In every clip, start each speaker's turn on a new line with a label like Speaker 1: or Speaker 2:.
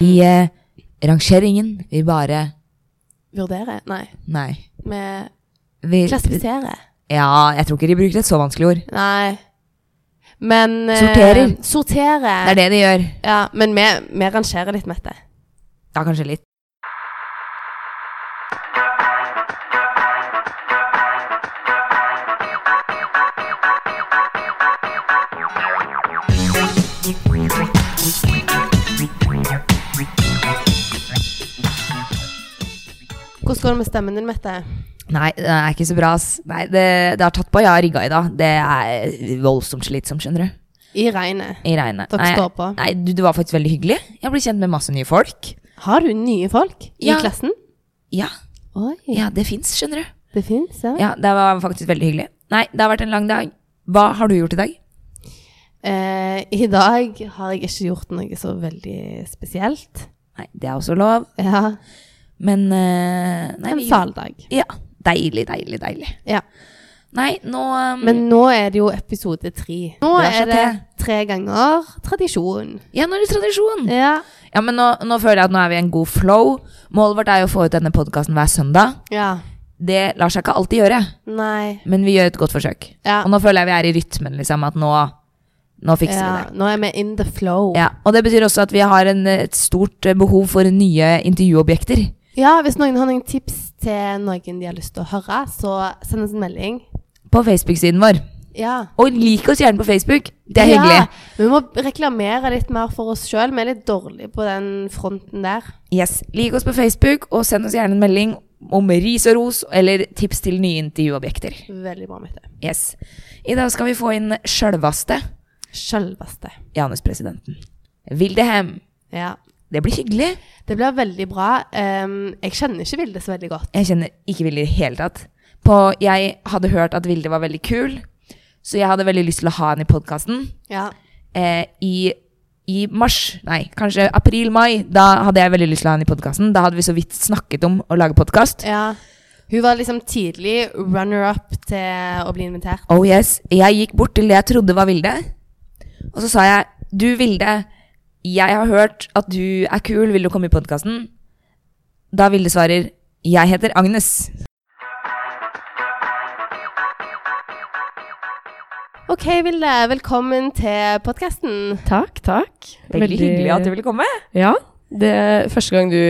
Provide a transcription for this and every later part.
Speaker 1: I eh, rangeringen vi bare
Speaker 2: Vurdere? Nei.
Speaker 1: Nei.
Speaker 2: Vi
Speaker 1: Vi,
Speaker 2: klassifisere?
Speaker 1: ja, jeg tror ikke de bruker et så vanskelig ord.
Speaker 2: Nei. Men eh,
Speaker 1: Sorterer.
Speaker 2: Sortere.
Speaker 1: Det er det de gjør.
Speaker 2: Ja, men vi, vi rangerer litt, Mette.
Speaker 1: Ja, kanskje litt.
Speaker 2: Hvordan går det med stemmen din, Mette?
Speaker 1: Nei, det er ikke så bra, ass. Nei, det, det har tatt på. Jeg har rigga i dag. Det er voldsomt slitsomt, skjønner du.
Speaker 2: I regnet.
Speaker 1: I regnet.
Speaker 2: Dere
Speaker 1: Nei,
Speaker 2: står på.
Speaker 1: Nei, du, det var faktisk veldig hyggelig. Jeg ble kjent med masse nye folk.
Speaker 2: Har du nye folk i
Speaker 1: Ja.
Speaker 2: klassen?
Speaker 1: Ja,
Speaker 2: Oi.
Speaker 1: ja det fins, skjønner du.
Speaker 2: Det fins, ja.
Speaker 1: Ja, det var faktisk veldig hyggelig. Nei, det har vært en lang dag. Hva har du gjort i dag?
Speaker 2: Eh, I dag har jeg ikke gjort noe så veldig spesielt.
Speaker 1: Nei, det er også lov,
Speaker 2: Ja,
Speaker 1: men eh, nei,
Speaker 2: En
Speaker 1: vi-
Speaker 2: saldag.
Speaker 1: Ja. Deilig, deilig, deilig.
Speaker 2: Ja.
Speaker 1: Nei, nå um,
Speaker 2: Men nå er det jo episode tre. Nå
Speaker 1: Det er så
Speaker 2: er det tre ganger tradisjon.
Speaker 1: Ja, nå er det tradisjon.
Speaker 2: Ja.
Speaker 1: Ja, men nå, nå føler jeg at nå er vi i en god flow. Målet vårt er jo å få ut denne podkasten hver søndag.
Speaker 2: ja.
Speaker 1: Det lar seg ikke alltid gjøre,
Speaker 2: Nei.
Speaker 1: men vi gjør et godt forsøk.
Speaker 2: Ja.
Speaker 1: Og nå føler jeg vi er i rytmen, liksom. At nå, nå fikser vi det.
Speaker 2: ja. Nå er vi in the flow.
Speaker 1: Ja, og det betyr også at vi har en, et stort eh, behov for nye intervjuobjekter.
Speaker 2: Ja, hvis noen har noen tips til noen de har lyst til å høre, så send oss en melding.
Speaker 1: På Facebook-siden vår.
Speaker 2: Ja.
Speaker 1: Og lik oss gjerne på Facebook. Det er hyggelig.
Speaker 2: Ja, vi må reklamere litt mer for oss sjøl. Vi er litt dårlige på den fronten der.
Speaker 1: Yes, Lik oss på Facebook, og send oss gjerne en melding om ris og ros eller tips til nye intervjuobjekter.
Speaker 2: Veldig bra, Mette.
Speaker 1: Yes. I dag skal vi få inn sjølvaste
Speaker 2: Sjølveste.
Speaker 1: Janus-presidenten. Vildehem.
Speaker 2: Ja.
Speaker 1: Det blir hyggelig.
Speaker 2: Det blir veldig bra. Ehm, jeg kjenner ikke Vilde så veldig godt.
Speaker 1: Jeg kjenner ikke Vilde i det hele tatt. På, jeg hadde hørt at Vilde var veldig kul, så jeg hadde veldig lyst til å ha henne i podkasten.
Speaker 2: Ja.
Speaker 1: eh, i, i mars, nei, kanskje april-mai, da hadde jeg veldig lyst til å ha henne i podkasten. Da hadde vi så vidt snakket om å lage podkast.
Speaker 2: ja. Hun var liksom tidlig runner-up til å bli invitert.
Speaker 1: Oh yes, jeg gikk bort til det jeg trodde var Vilde, og så sa jeg Du, Vilde, jeg har hørt at du er kul, vil du komme i podkasten? Da Vilde svarer Jeg heter Agnes.
Speaker 2: OK, Vilde. Velkommen til podkasten.
Speaker 3: Takk, takk.
Speaker 1: Veldig hyggelig at du ville komme.
Speaker 3: Ja, det er første gang du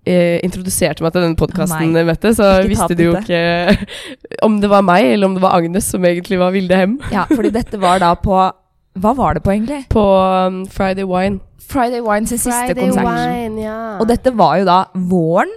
Speaker 3: eh, introduserte meg til denne podkasten,
Speaker 1: Nei.
Speaker 3: Mette, så
Speaker 1: Ikke ta
Speaker 3: visste du jo
Speaker 1: på
Speaker 3: ikke om det var meg, eller om det var Agnes som egentlig var Vilde Hem
Speaker 1: Ja, fordi dette var da på Hva var det på, egentlig?
Speaker 3: på um, Friday Wine.
Speaker 1: Friday Wine sin siste konsert.
Speaker 2: Wine, ja.
Speaker 1: Og dette var jo da våren,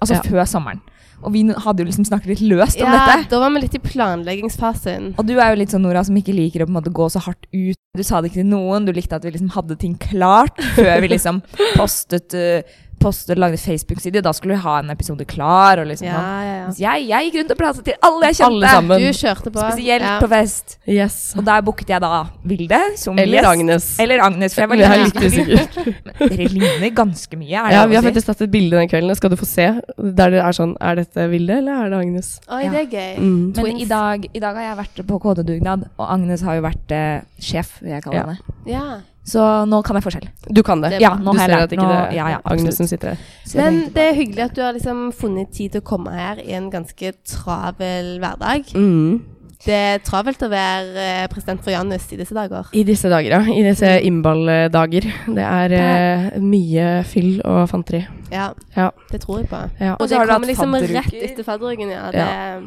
Speaker 1: altså
Speaker 3: Ja.
Speaker 1: før sommeren. Og vi hadde jo liksom snakket litt løst om
Speaker 2: ja,
Speaker 1: dette.
Speaker 2: da var vi litt i planleggingsfasen.
Speaker 1: Og du er jo litt sånn Nora som ikke liker å på en måte gå så hardt ut. Du sa det ikke til noen, du likte at vi liksom hadde ting klart før vi liksom postet, eh, postet lagde Facebook-side. Da skulle vi ha en episode klar. og liksom
Speaker 2: Ja,
Speaker 1: sånn.
Speaker 2: ja, ja.
Speaker 1: Mens jeg, jeg gikk rundt og pratet til alle jeg kjente.
Speaker 3: Alle sammen.
Speaker 2: Du kjørte på.
Speaker 1: Spesielt
Speaker 2: ja.
Speaker 1: på fest.
Speaker 3: Yes.
Speaker 1: Og der booket jeg da Vilde som
Speaker 3: Eller
Speaker 1: gjest.
Speaker 3: Agnes.
Speaker 1: Eller Agnes, for jeg var
Speaker 3: Men jeg er
Speaker 1: litt
Speaker 3: litt usikker.
Speaker 1: Dere ligner ganske mye. Er det
Speaker 3: Ja,
Speaker 1: lov
Speaker 3: vi
Speaker 1: å
Speaker 3: har
Speaker 1: si?
Speaker 3: faktisk tatt et bilde den kvelden, det skal du få se. Der det er sånn Er dette Vilde, eller er det Agnes?
Speaker 2: Oi,
Speaker 1: Ja.
Speaker 2: det er gøy.
Speaker 3: Mm.
Speaker 1: Men
Speaker 2: Twins.
Speaker 1: i dag, i dag har jeg vært på kodedugnad, og Agnes har jo vært eh, sjef, vil jeg kalle
Speaker 3: Ja.
Speaker 1: henne.
Speaker 2: Ja.
Speaker 1: Så nå kan jeg forskjell.
Speaker 3: Du kan det.
Speaker 2: Det-
Speaker 1: Ja,
Speaker 3: Du
Speaker 1: nå har
Speaker 3: ser
Speaker 1: jeg
Speaker 3: at
Speaker 1: lært.
Speaker 3: ikke
Speaker 1: Nå,
Speaker 3: det er
Speaker 1: ja, ja, absolutt.
Speaker 3: Agnes som sitter der.
Speaker 1: Så jeg
Speaker 2: Men
Speaker 1: tenkte
Speaker 2: det er hyggelig at du har liksom funnet tid til å komme her i en ganske travel hverdag.
Speaker 3: Mm.
Speaker 2: Det er travelt å være eh, president for Janus i disse dager.
Speaker 3: I disse dager, ja. I disse innballdager. Mm. Det er eh, mye fyll og fanteri.
Speaker 2: Ja,
Speaker 3: Ja.
Speaker 2: det tror jeg på.
Speaker 3: ja.
Speaker 1: Mm.
Speaker 2: Og
Speaker 1: så
Speaker 2: det
Speaker 1: har du hatt
Speaker 2: kommer liksom
Speaker 1: fadderuker.
Speaker 2: rett etter fadderuken. Ja, det,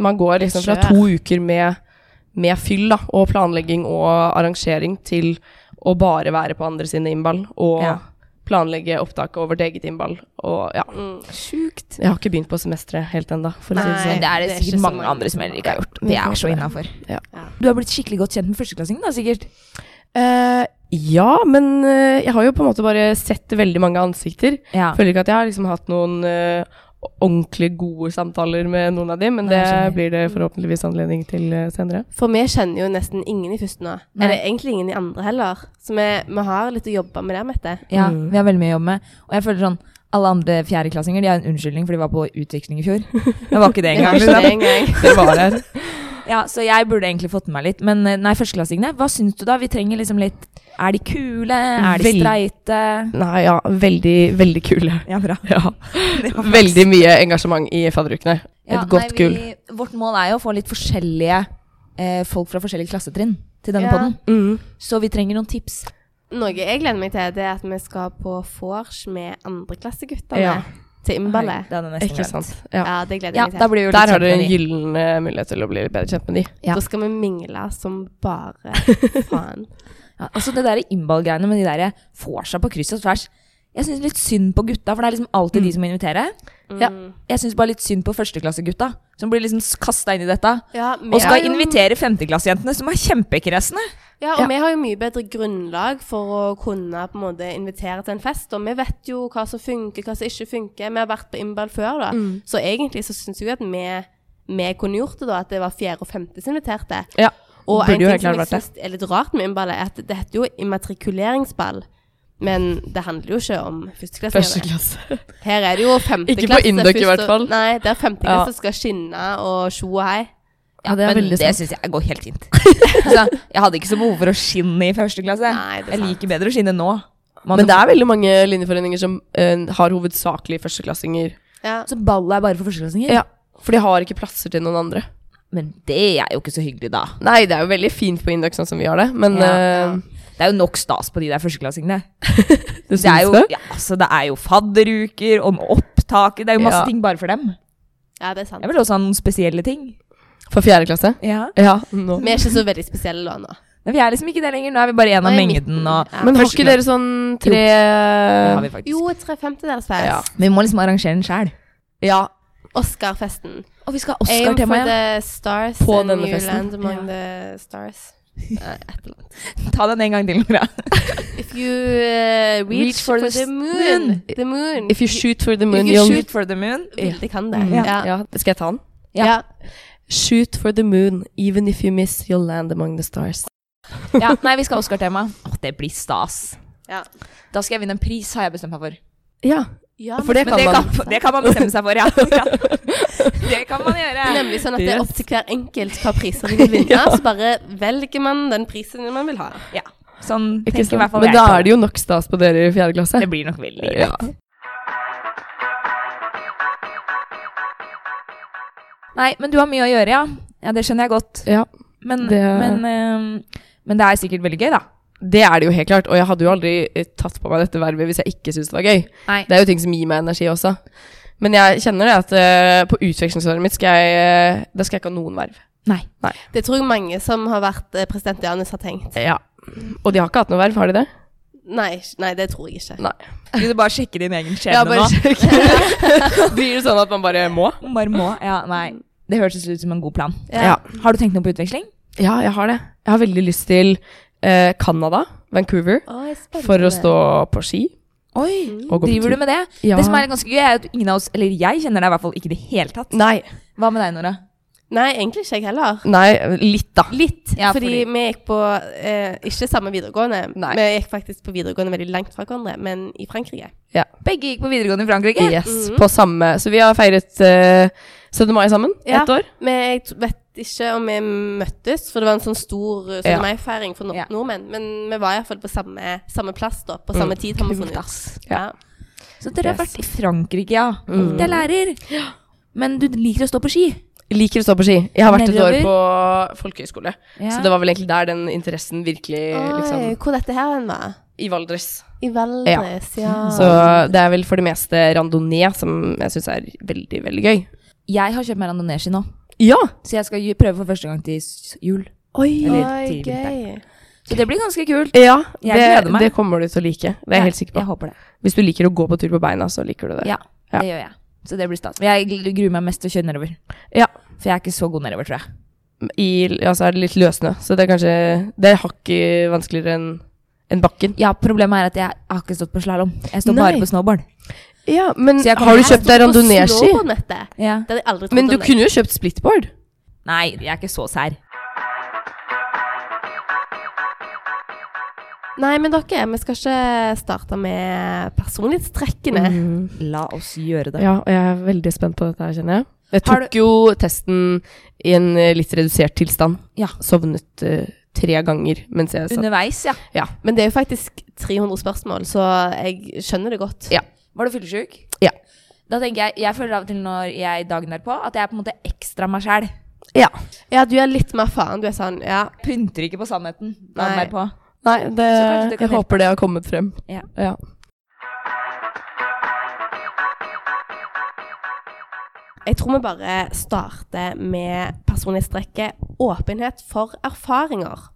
Speaker 3: Man går liksom fra
Speaker 2: Kjør.
Speaker 3: to uker med, med fyll da, og planlegging og arrangering til å bare være på andre sine innball og
Speaker 1: Ja.
Speaker 3: planlegge opptaket og vårt eget innball. Og ja,
Speaker 2: mm.
Speaker 1: Sjukt.
Speaker 3: jeg har ikke begynt på semesteret helt ennå, for å si det
Speaker 2: Nei.
Speaker 1: Men
Speaker 3: sånn.
Speaker 1: det er det
Speaker 2: det er ikke
Speaker 1: sikkert
Speaker 2: så
Speaker 1: mange
Speaker 2: mange.
Speaker 1: andre som heller ikke har gjort.
Speaker 3: Vi
Speaker 1: Det
Speaker 3: får
Speaker 1: er så
Speaker 3: håpe det.
Speaker 1: innafor.
Speaker 3: Ja.
Speaker 2: Ja.
Speaker 1: Du har blitt skikkelig godt kjent med førsteklassingen, da, sikkert?
Speaker 3: Eh, ja, men eh, jeg har jo på en måte bare sett veldig mange ansikter.
Speaker 1: Ja.
Speaker 3: Føler ikke at jeg har liksom hatt noen eh, ordentlig gode samtaler med noen av de, men
Speaker 1: Nei,
Speaker 3: det
Speaker 1: jeg skjønner.
Speaker 3: blir det forhåpentligvis anledning til eh, senere.
Speaker 2: For vi kjenner jo nesten ingen i første nå.
Speaker 1: Nei.
Speaker 2: Eller egentlig ingen i andre heller. Så vi, vi har litt å jobbe med der, Mette.
Speaker 1: Ja,
Speaker 3: Mm.
Speaker 1: vi har veldig mye å jobbe med. Og jeg føler sånn alle andre fjerdeklassinger de har en unnskyldning, for de var på utveksling i fjor. Jeg var ikke det
Speaker 2: Vi
Speaker 1: engang.
Speaker 2: har ikke det
Speaker 1: liksom.
Speaker 2: engang.
Speaker 3: Dere var der.
Speaker 1: Ja, så jeg burde egentlig fått med meg litt. Men eh, nei, førsteklassingene, hva syns du da? Vi trenger liksom litt Er de kule? Er de
Speaker 3: Vel-
Speaker 1: streite?
Speaker 3: Nei, ja, veldig, veldig kule.
Speaker 1: Ja, bra.
Speaker 3: Ja. Veldig mye engasjement i fadderukene. Et
Speaker 1: Ja,
Speaker 3: godt
Speaker 1: nei,
Speaker 3: gull.
Speaker 1: vi- Vårt mål er jo å få litt forskjellige eh, folk fra forskjellige klassetrinn til denne
Speaker 2: Ja.
Speaker 1: podden.
Speaker 3: Mm.
Speaker 1: Så vi trenger noen tips.
Speaker 2: Noe jeg gleder meg til, det er at vi skal på vors med andreklasseguttene
Speaker 3: Ja.
Speaker 2: til
Speaker 1: Herregud,
Speaker 2: Imbalet.
Speaker 1: Det hadde jeg nesten
Speaker 3: Ikke
Speaker 1: glemt.
Speaker 3: sant. Ja.
Speaker 2: Ja, det gleder
Speaker 1: Ja,
Speaker 2: jeg
Speaker 1: da
Speaker 2: meg til.
Speaker 1: blir det jo litt
Speaker 3: Der har
Speaker 1: kjent
Speaker 3: dere
Speaker 1: med
Speaker 3: en
Speaker 1: de.
Speaker 3: gyllen eh, mulighet til å bli litt bedre kjent med de.
Speaker 1: ja.
Speaker 2: Da skal vi mingle som bare faen.
Speaker 1: Ja, altså det der innball-greiene med de der vorsa på kryss og tvers Jeg syns litt synd på gutta, for det er liksom alltid de som inviterer.
Speaker 2: Mm. Ja.
Speaker 1: Jeg syns bare litt synd på førsteklassegutta, som blir liksom kasta inn i dette.
Speaker 2: vi
Speaker 1: Og skal
Speaker 2: har jo-
Speaker 1: invitere femteklassejentene, som er kjempekresne.
Speaker 2: Ja, og vi har jo mye bedre grunnlag for å kunne på en måte invitere til en fest. Og vi vet jo hva som funker, hva som ikke funker. Vi har vært på innball før, da.
Speaker 1: Mm.
Speaker 2: Så egentlig så syns jeg jo at vi, vi kunne gjort det, da. At det var fjerde og femte som inviterte.
Speaker 3: Ja.
Speaker 2: Og
Speaker 3: Burde
Speaker 2: en
Speaker 3: jo
Speaker 2: ting
Speaker 3: helt
Speaker 2: som
Speaker 3: klart
Speaker 2: jeg
Speaker 3: vært det.
Speaker 2: syns er litt rart med innballet, er at det heter jo immatrikuleringsball. Men det handler jo ikke om
Speaker 3: Første
Speaker 2: førsteklassingene.
Speaker 3: klasse.
Speaker 2: Her er det jo femte
Speaker 3: Ikke på
Speaker 2: klasse,
Speaker 3: Indøk i
Speaker 2: første-
Speaker 3: hvert fall.
Speaker 2: Nei, der femte
Speaker 3: Ja.
Speaker 2: klasse skal skinne og tjo og hei.
Speaker 1: Ja, det
Speaker 3: veldig
Speaker 1: det
Speaker 3: sant.
Speaker 1: syns jeg går helt fint. altså, jeg hadde ikke så behov for å skinne i første klasse.
Speaker 2: Nei, det er
Speaker 1: jeg
Speaker 2: sant.
Speaker 1: liker bedre å skinne nå. Man-
Speaker 3: Men det er veldig mange linjeforeninger som eh, har hovedsakelig førsteklassinger.
Speaker 2: Ja.
Speaker 1: Så ballet er bare for førsteklassinger?
Speaker 3: Ja. For de har ikke plasser til noen andre.
Speaker 1: Men det er jo ikke så hyggelig, da.
Speaker 3: Nei, det er jo veldig fint på Indøk sånn som vi har det, men
Speaker 1: Ja,
Speaker 3: eh,
Speaker 1: Det er jo nok stas på de der førsteklassingene.
Speaker 3: Du
Speaker 1: Det er,
Speaker 3: syns
Speaker 1: jo,
Speaker 3: det?
Speaker 1: ja, altså, det er jo fadderuker og opptaket. Det er jo masse
Speaker 3: Ja.
Speaker 1: ting bare for dem.
Speaker 2: ja, det er sant.
Speaker 1: Jeg vil også ha noen spesielle ting.
Speaker 3: For fjerde klasse?
Speaker 1: Ja.
Speaker 3: Ja, nå.
Speaker 2: Vi er ikke så veldig spesielle da nå.
Speaker 1: Nei, vi er liksom ikke det lenger. Nå er vi bare en av
Speaker 2: Nå er vi i
Speaker 1: mengden.
Speaker 2: midten,
Speaker 1: Og
Speaker 2: ja.
Speaker 3: Men har
Speaker 1: Første
Speaker 3: ikke dere sånn tre
Speaker 1: det har vi faktisk.
Speaker 2: Jo, tre femtedels fest.
Speaker 3: Ja.
Speaker 1: Men vi må liksom arrangere den sjæl.
Speaker 3: Ja,
Speaker 2: Oscar-festen.
Speaker 1: Og vi skal ha
Speaker 2: Aim for
Speaker 1: Oscar-tema. Ja.
Speaker 2: the stars
Speaker 3: På
Speaker 2: and
Speaker 3: denne
Speaker 2: you
Speaker 3: festen.
Speaker 2: land among the stars. Eh, et eller annet.
Speaker 1: Ta den en gang til, Nora.
Speaker 2: If you uh, reach, for, the, moon,
Speaker 1: moon.
Speaker 2: the moon.
Speaker 3: If you shoot for the moon,
Speaker 2: you
Speaker 3: you'll
Speaker 2: shoot-
Speaker 1: for the moon.
Speaker 2: Vilde kan det.
Speaker 1: Ja.
Speaker 2: Ja.
Speaker 3: Ja, skal jeg ta den?
Speaker 1: Ja.
Speaker 2: Ja.
Speaker 3: Shoot for the moon, even if you miss, you'll land among the stars.
Speaker 1: Ja, nei, vi skal ha Oscar-tema. Åh, det blir stas.
Speaker 2: Ja.
Speaker 1: Da skal jeg vinne en pris, har jeg bestemt meg for.
Speaker 3: Ja,
Speaker 2: Ja,
Speaker 3: for det
Speaker 1: Men
Speaker 3: kan
Speaker 1: det
Speaker 3: man.
Speaker 1: kan, det kan man bestemme seg for, ja. Det kan man gjøre.
Speaker 2: men Nemlig sånn at det er opp til hver enkelt hva priser de vil vinne. Så bare velger man den prisen man vil ha.
Speaker 1: Ja. Sånn
Speaker 3: Ikke
Speaker 1: tenker i hvert
Speaker 3: sant?
Speaker 1: fall
Speaker 3: Men
Speaker 1: jeg
Speaker 3: da
Speaker 1: på
Speaker 3: er det jo nok stas på dere i fjerde klasse.
Speaker 1: Det blir nok veldig greit.
Speaker 3: Ja.
Speaker 1: Nei, men du har mye å gjøre, ja. Ja, Det skjønner jeg godt.
Speaker 3: ja.
Speaker 1: Men det,
Speaker 3: Det-
Speaker 1: men, ehm, men det er sikkert veldig gøy, da.
Speaker 3: Det er det jo helt klart, og jeg hadde jo aldri eh, tatt på meg dette vervet hvis jeg ikke syntes det var gøy.
Speaker 1: Nei.
Speaker 3: Det er jo ting som gir meg energi også. Men jeg kjenner det at eh, på utvekslingsåret mitt skal jeg, eh, da skal jeg ikke ha noen verv.
Speaker 1: Nei.
Speaker 2: Det tror jeg mange som har vært eh, president Janus, har tenkt.
Speaker 3: Ja. Og de har ikke hatt noe verv, har de det?
Speaker 2: Nei, nei, det tror jeg ikke.
Speaker 3: Nei.
Speaker 1: Skal du bare sjekke din egen skjebne
Speaker 3: Ja, bare
Speaker 1: nå?
Speaker 3: sjekk. Blir det sånn at man bare må?
Speaker 1: Bare må. Ja, nei. Det hørtes ut som en god plan.
Speaker 3: Ja.
Speaker 1: Har du tenkt noe på utveksling?
Speaker 3: Ja, jeg har det. Jeg har veldig lyst til eh, Canada, Vancouver,
Speaker 2: Å, jeg er spent
Speaker 3: for å
Speaker 2: på det.
Speaker 3: stå på ski.
Speaker 1: Oi,
Speaker 3: Og gå på
Speaker 1: Mm. Driver
Speaker 3: tur.
Speaker 1: du med det?
Speaker 3: Ja.
Speaker 1: Det som er ganske gøy, er at ingen av oss, eller jeg kjenner deg i hvert fall ikke i det hele tatt.
Speaker 3: Nei,
Speaker 1: Hva med deg, Nora?
Speaker 2: Nei, egentlig ikke jeg heller.
Speaker 3: nei, litt da.
Speaker 2: Litt,
Speaker 1: Ja,
Speaker 2: fordi,
Speaker 1: fordi-
Speaker 2: vi gikk på eh, ikke samme videregående.
Speaker 3: Nei.
Speaker 2: Vi gikk faktisk på videregående veldig langt fra hverandre, men i Frankrike.
Speaker 1: Begge gikk på videregående i Frankrike. Mm.
Speaker 3: Yes, på samme. Så vi har feiret eh, 17. mai sammen,
Speaker 2: Ja.
Speaker 3: ett år.
Speaker 2: Men jeg t- vet ikke om vi møttes, for det var en sånn stor eh, 17.
Speaker 3: Ja.
Speaker 2: mai-feiring for no
Speaker 1: Ja.
Speaker 2: nordmenn. Men vi var iallfall på samme, samme plass da, på samme tid. har vi funnet ut. Mm. Ja.
Speaker 1: Så dere har
Speaker 3: Yes. Mm.
Speaker 1: vært i Frankrike, ja. Det er lærer. Men du liker å stå på ski.
Speaker 3: Liker å stå på ski. Jeg har vært et år
Speaker 1: Nedover.
Speaker 3: på folkehøyskole,
Speaker 1: Ja.
Speaker 3: så det var vel egentlig der den interessen virkelig liksom,
Speaker 2: Oi, hvor dette her hen var?
Speaker 3: I Valdres.
Speaker 2: I Valdres, ja.
Speaker 1: Ah.
Speaker 3: Så det er vel for det meste randonee som jeg syns er veldig, veldig gøy.
Speaker 1: Jeg har kjøpt meg randoneeski nå,
Speaker 3: Ja!
Speaker 1: så jeg skal ju- prøve for første gang til s- jul.
Speaker 3: Oi.
Speaker 1: Eller
Speaker 2: Oi,
Speaker 1: til vinter.
Speaker 2: gøy.
Speaker 1: Så det blir ganske kult.
Speaker 3: Ja,
Speaker 1: Jeg
Speaker 3: det,
Speaker 1: gleder meg.
Speaker 3: det kommer du til å like. Det er jeg helt sikker
Speaker 1: Jeg
Speaker 3: på.
Speaker 1: håper det.
Speaker 3: Hvis du liker å gå på tur på beina, så liker du det.
Speaker 1: Ja, det gjør jeg. Så det blir stas. Men jeg gl- gruer meg mest til å kjøre nedover.
Speaker 3: Ja.
Speaker 1: For jeg er ikke så god nedover, tror jeg.
Speaker 3: I, ja, så er det litt løssnø, så det er kanskje Det er hakket vanskeligere enn enn bakken.
Speaker 1: Ja, Problemet er at jeg har ikke stått på slalåm. Jeg står
Speaker 3: Nei.
Speaker 1: bare på snowboard.
Speaker 3: Ja, men
Speaker 1: Så jeg kommer-
Speaker 3: har du
Speaker 1: Jeg
Speaker 3: kjøpt deg randoneeski?
Speaker 2: Snowboardnettet.
Speaker 1: Ja.
Speaker 2: Det hadde jeg aldri trodd
Speaker 3: Men du
Speaker 2: om deg.
Speaker 3: kunne jo kjøpt splitboard.
Speaker 1: Nei, jeg er ikke så sær.
Speaker 2: Nei, men dere, vi skal ikke starte med personlighetstrekkene.
Speaker 3: Mm,
Speaker 1: La oss gjøre det.
Speaker 3: Ja, og jeg er veldig spent på dette her, kjenner jeg. Jeg
Speaker 1: Har
Speaker 3: tok jo testen i en eh, litt redusert tilstand.
Speaker 1: Ja.
Speaker 3: Sovnet eh, tre ganger mens jeg satt.
Speaker 1: Underveis, ja.
Speaker 3: Ja.
Speaker 2: Men det er jo faktisk 300 spørsmål, så jeg skjønner det godt.
Speaker 3: Ja.
Speaker 1: Var du fyllesyk?
Speaker 3: Ja.
Speaker 1: Da tenker jeg, jeg føler av og til når jeg dagen derpå, at jeg er på en måte ekstra meg sjæl.
Speaker 3: ja.
Speaker 2: Ja, du er litt mer faen. Du er sånn, ja.
Speaker 1: Pynter ikke på sannheten dagen
Speaker 2: Nei.
Speaker 1: derpå.
Speaker 3: Nei, det,
Speaker 1: kanskje det kan
Speaker 3: jeg håper det har kommet frem.
Speaker 1: Ja.
Speaker 3: Ja.
Speaker 2: Jeg tror vi bare starter med personlighetstrekket åpenhet for erfaringer.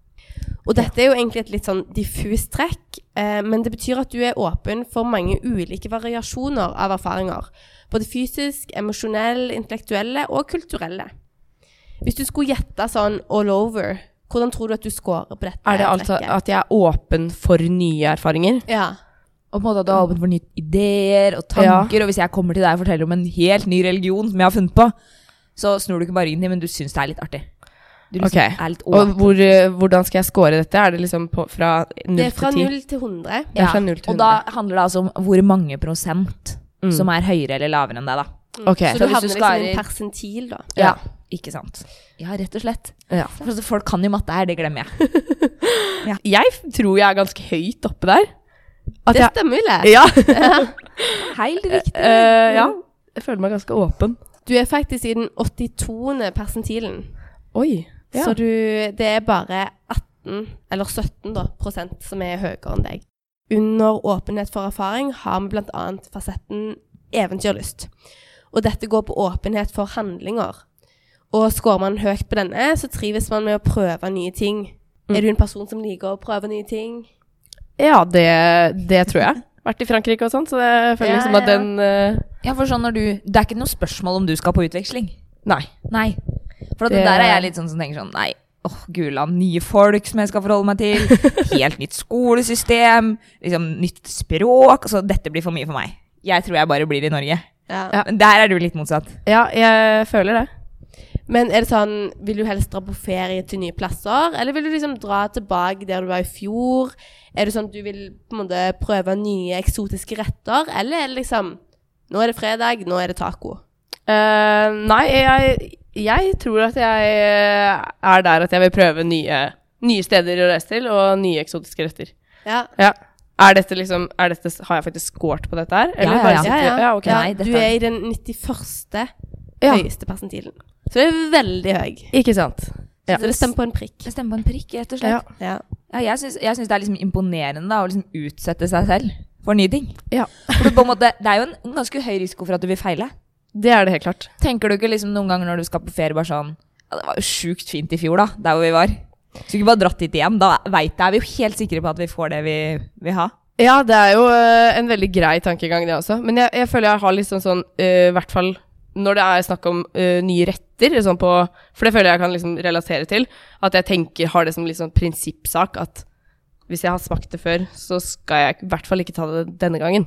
Speaker 2: Og dette er jo egentlig et litt sånn diffust trekk, eh, men det betyr at du er åpen for mange ulike variasjoner av erfaringer. Både fysisk, emosjonell, intellektuelle og kulturelle. Hvis du skulle gjette sånn all over, hvordan tror du at du scorer på dette
Speaker 3: Er det altså
Speaker 2: trekket?
Speaker 3: at jeg er åpen for nye erfaringer?
Speaker 2: Ja.
Speaker 1: Og på en måte at du
Speaker 3: Mm.
Speaker 1: har åpent for nye ideer og tanker. Og hvis jeg kommer til deg og forteller om en helt ny religion som jeg har funnet på, så snur du ikke bare ryggen din, men du syns det er litt artig. Du liksom
Speaker 3: Ok.
Speaker 1: er litt
Speaker 3: Og
Speaker 1: åpen.
Speaker 3: hvor, eh, hvordan skal jeg score dette? Er det liksom på, fra
Speaker 2: Det
Speaker 3: 0
Speaker 2: er fra
Speaker 3: til 10?
Speaker 2: 0 til 100.
Speaker 3: det er fra null til
Speaker 1: og da handler det altså om hvor mange prosent
Speaker 3: Mm.
Speaker 1: som er høyere eller lavere enn deg, da.
Speaker 3: Ok.
Speaker 2: Så,
Speaker 1: Så
Speaker 2: du
Speaker 1: hvis
Speaker 2: havner
Speaker 1: du
Speaker 2: liksom i en
Speaker 1: skarer-
Speaker 2: persentil, da.
Speaker 3: Ja.
Speaker 1: Ikke sant. Ja, rett og slett.
Speaker 3: Ja.
Speaker 1: For altså, folk kan jo matte her, det glemmer jeg.
Speaker 3: Jeg f- tror jeg er ganske høyt oppe der. At
Speaker 2: Det
Speaker 3: jeg,
Speaker 2: stemmer, Ule.
Speaker 3: ja.
Speaker 1: Helt riktig.
Speaker 3: Eh, ja. Jeg føler meg ganske åpen.
Speaker 2: Du er faktisk i den 82. persentilen.
Speaker 3: Oi. Ja.
Speaker 2: Så du, det er bare 18, eller 17 da, prosent som er høyere enn deg. Under åpenhet for erfaring har vi blant annet fasetten eventyrlyst. Og dette går på åpenhet for handlinger. Og skårer man høyt på denne, så trives man med å prøve nye ting. Er du en person som liker å prøve nye ting?
Speaker 3: Ja, det, det tror jeg. Vært i Frankrike og sånn, så jeg føler
Speaker 2: Ja,
Speaker 3: liksom at
Speaker 2: ja.
Speaker 3: den eh,
Speaker 1: Ja, for sånn når du Det er ikke noe spørsmål om du skal på utveksling.
Speaker 3: Nei.
Speaker 1: Nei. For at
Speaker 3: Det-
Speaker 1: der er jeg litt sånn som tenker sånn Nei, åh, guland. Nye folk som jeg skal forholde meg til. Helt nytt skolesystem. Liksom nytt språk. Altså, dette blir for mye for meg. Jeg tror jeg bare blir i Norge.
Speaker 2: Ja.
Speaker 3: Ja.
Speaker 1: Men der er du litt motsatt.
Speaker 3: Ja, jeg føler det.
Speaker 2: Men er det sånn, vil du helst dra på ferie til nye plasser, eller vil du liksom dra tilbake der du var i fjor? Er det sånn at du vil på en måte prøve nye eksotiske retter, eller er det liksom, nå er det fredag, nå er det taco?
Speaker 3: Eh, nei, jeg, jeg tror at jeg eh, er der at jeg vil prøve nye, nye steder å reise til, og nye eksotiske retter.
Speaker 2: Ja,
Speaker 3: Ja. Er dette liksom er dette, Har jeg faktisk scoret på dette her?
Speaker 1: Ja, ja,
Speaker 3: bare
Speaker 1: ja.
Speaker 3: sitter- Altså, ja, ok.
Speaker 1: Ja. Nei, dette
Speaker 2: du
Speaker 1: er-
Speaker 2: er i den 91.
Speaker 3: Ja.
Speaker 2: høyeste persentilen. Så det er veldig høy.
Speaker 3: Ikke sant. Ja.
Speaker 2: Så det stemmer på en prikk.
Speaker 1: Jeg stemmer på en prikk, rett og
Speaker 3: Ja.
Speaker 1: slett. Ja, jeg syns jeg syns det er liksom imponerende da, å liksom utsette seg selv for nye ting.
Speaker 3: ja.
Speaker 1: For det, på en måte, det er jo en ganske høy risiko for at du vil feile.
Speaker 3: Det er det helt klart.
Speaker 1: Tenker du ikke liksom noen ganger når du skal på ferie bare sånn Ja, det var jo sjukt fint i fjor, da, der hvor vi var. Skulle ikke bare dratt dit igjen. Da veit jeg vi er jo helt sikre på at vi får det vi vil ha.
Speaker 3: Ja, det er jo eh, en veldig grei tankegang, det også. Men jeg, jeg føler jeg har litt sånn sånn I hvert fall når det er snakk om eh, nye retter, sånn på For det føler jeg kan liksom relatere til. At jeg tenker, har det som litt sånn prinsippsak at hvis jeg har smakt det før, så skal jeg i hvert fall ikke ta det denne gangen.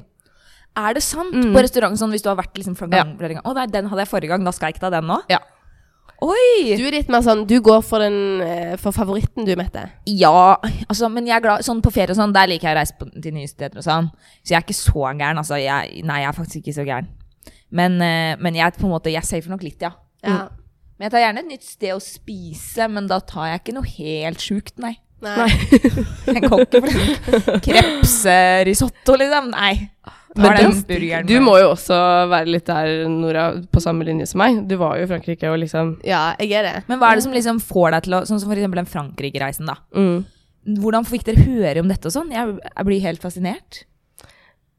Speaker 1: Er det sant? På restaurant sånn hvis du har vært liksom fra
Speaker 3: Ja.
Speaker 1: gang, flere ganger. Å nei, den hadde jeg forrige gang, da skal jeg ikke ta den nå.
Speaker 3: Ja.
Speaker 1: Oi!
Speaker 2: Du er litt mer sånn, du går for, den, eh, for favoritten du, Mette.
Speaker 1: Ja, altså, men jeg er glad Sånn på ferie og sånn, der liker jeg å reise på, til nye steder og sånn. Så jeg er ikke så gæren, altså. Jeg, nei, jeg er faktisk ikke så gæren. Men, eh, men jeg er på en måte Jeg safer nok litt, ja.
Speaker 2: Ja.
Speaker 1: Men jeg tar gjerne et nytt sted å spise, men da tar jeg ikke noe helt sjukt, nei.
Speaker 2: Nei.
Speaker 1: Jeg kan ikke for sånn krepserisotto, liksom. Nei.
Speaker 3: Men
Speaker 1: Tar den
Speaker 3: du-
Speaker 1: burgeren.
Speaker 3: Du må jo også være litt der, Nora, på samme linje som meg. Du var jo i Frankrike og liksom
Speaker 2: Ja, jeg er det.
Speaker 1: Men hva er det som liksom får deg til å Sånn som for eksempel den Frankrike-reisen, da.
Speaker 3: mm.
Speaker 1: Hvordan fikk dere høre om dette og sånn? Jeg, jeg blir helt fascinert.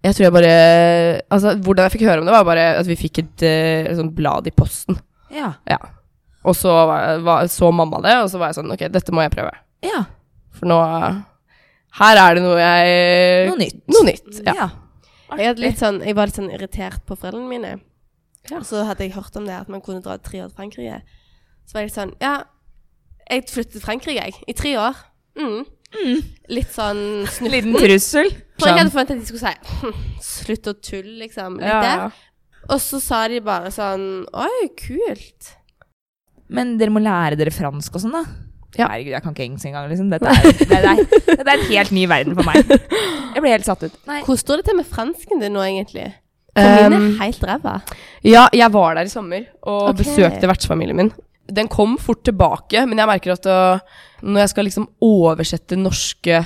Speaker 3: Jeg tror jeg bare Altså, hvordan jeg fikk høre om det, var bare at vi fikk et eh, sånn blad i posten.
Speaker 1: Ja.
Speaker 3: Ja. Og så var, var, så mamma det, og så var jeg sånn, ok, dette må jeg prøve.
Speaker 1: Ja.
Speaker 3: For nå, her er det noe jeg...
Speaker 1: Eh, Noe nytt.
Speaker 3: Noe nytt, ja.
Speaker 2: Jeg, hadde litt sånn, jeg var litt sånn irritert på foreldrene mine. Og
Speaker 3: Ja.
Speaker 2: Så hadde jeg hørt om det, at man kunne dra tre år til Frankrike. Så var jeg litt sånn Ja, jeg flyttet til Frankrike, jeg. I tre år. Mm. Litt sånn snutt.
Speaker 1: Liten trussel. Sånn.
Speaker 2: For jeg hadde forventet at de skulle si «Hm, Slutt å tulle, liksom. Litt
Speaker 3: Ja, ja.
Speaker 2: der. Og så sa de bare sånn Oi, kult.
Speaker 1: Men dere må lære dere fransk og sånn, da.
Speaker 3: Ja.
Speaker 1: Herregud, jeg kan ikke engelsk engang. Liksom. Dette, er, det, er, dette er en helt ny verden for meg. Jeg ble helt satt ut. Nei.
Speaker 2: Hvordan står det til med fransken din nå, egentlig? For min
Speaker 3: Um,
Speaker 2: er helt ræva.
Speaker 3: Ja, jeg var der i sommer og
Speaker 2: Ok.
Speaker 3: besøkte vertsfamilien min. Den kom fort tilbake, men jeg merker at øh, når jeg skal liksom oversette norske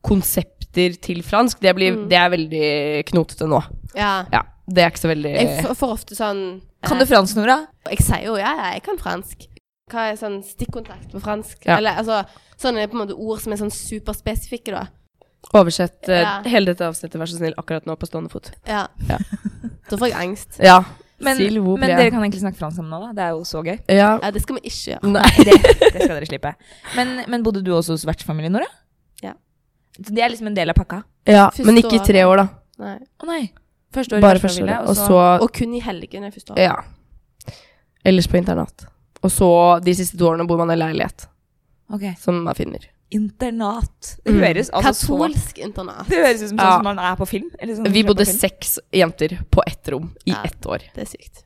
Speaker 3: konsepter til fransk, det,
Speaker 2: Mm.
Speaker 3: blir, det er veldig knotete nå.
Speaker 2: Ja.
Speaker 3: Ja, det er ikke så veldig
Speaker 2: Jeg f- får ofte sånn
Speaker 1: Kan du fransk, Nora?
Speaker 2: Jeg sier jo ja, ja, jeg kan fransk. Hva er sånn stikkontakt på fransk?
Speaker 3: Ja.
Speaker 2: Eller altså sånne på en måte ord som er sånn superspesifikke, da.
Speaker 3: Oversett øh,
Speaker 2: Ja.
Speaker 3: hele dette avsnittet, vær så snill, akkurat nå på stående fot.
Speaker 2: Ja.
Speaker 3: Ja.
Speaker 2: Da får jeg angst.
Speaker 3: Ja.
Speaker 1: Men,
Speaker 3: S'il vous
Speaker 1: men
Speaker 3: plaît.
Speaker 1: dere kan egentlig snakke fransk sammen nå, da. Det er jo så gøy.
Speaker 3: ja.
Speaker 2: Ja, det skal vi ikke gjøre.
Speaker 3: Nei.
Speaker 1: Det, det skal dere slippe. Men, men bodde du også hos vertsfamilien, Nora?
Speaker 2: Ja.
Speaker 1: Så det er liksom en del av pakka?
Speaker 3: Ja,
Speaker 2: Første
Speaker 3: men ikke i tre år, da.
Speaker 2: Nei.
Speaker 1: Å nei. Første år i
Speaker 3: Bare første
Speaker 1: vertsfamilie,
Speaker 3: året. Og så
Speaker 2: Og kun i helgene første året.
Speaker 3: Ja. Ellers på internat. Og så de siste to årene bor man i leilighet,
Speaker 1: Ok.
Speaker 3: som man finner.
Speaker 1: Internat. Det høres altså så
Speaker 2: Katolsk internat.
Speaker 1: Det høres ut som
Speaker 3: Ja.
Speaker 1: sånn som man er på film. Eller sånn,
Speaker 3: Vi
Speaker 1: som man
Speaker 3: bodde
Speaker 1: ser på film.
Speaker 3: seks jenter på ett rom i
Speaker 2: Ja.
Speaker 3: ett år.
Speaker 2: Det er sykt.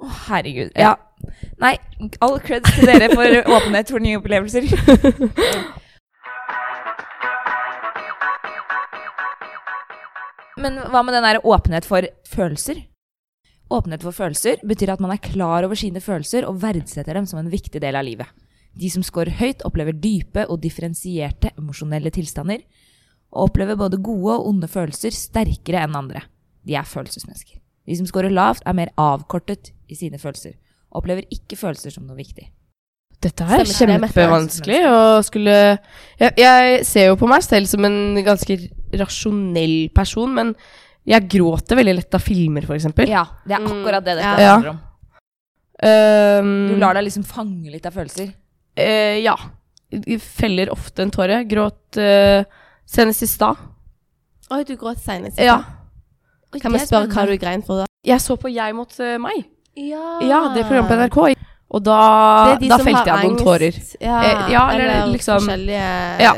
Speaker 1: Å, herregud. Ja. Nei, all creds til dere for åpenhet for nye opplevelser. Men hva med den der åpenhet for følelser? Åpenhet for følelser betyr at man er klar over sine følelser og verdsetter dem som en viktig del av livet. De som scorer høyt, opplever dype og differensierte emosjonelle tilstander, og opplever både gode og onde følelser sterkere enn andre. De er følelsesmennesker. De som scorer lavt, er mer avkortet i sine følelser, og opplever ikke følelser som noe viktig.
Speaker 3: Dette her er
Speaker 2: Stemmer ikke det med
Speaker 3: kjempevanskelig å skulle jeg, jeg ser jo på meg selv som en ganske rasjonell person, men jeg gråter veldig lett av filmer, f.eks.
Speaker 1: Ja, det er
Speaker 2: Mm,
Speaker 1: akkurat det dette
Speaker 3: ja.
Speaker 1: handler om. Du lar deg liksom fange litt av følelser.
Speaker 3: Ehm, Eh, ja. Feller ofte en tåre. Gråt eh, senest i stad.
Speaker 2: Oi, du gråt seinest.
Speaker 3: Ja.
Speaker 2: Kan vi spørre hva du grein for da?
Speaker 3: Jeg så på Jeg mot eh, meg.
Speaker 2: Ja,
Speaker 3: Ja, det programmet på NRK. Og da,
Speaker 2: Det er de
Speaker 3: da
Speaker 2: som har
Speaker 3: felte jeg noen
Speaker 2: angst.
Speaker 3: tårer.
Speaker 2: Ja,
Speaker 3: Eh, ja, eller liksom-
Speaker 2: forskjellige
Speaker 3: Ja.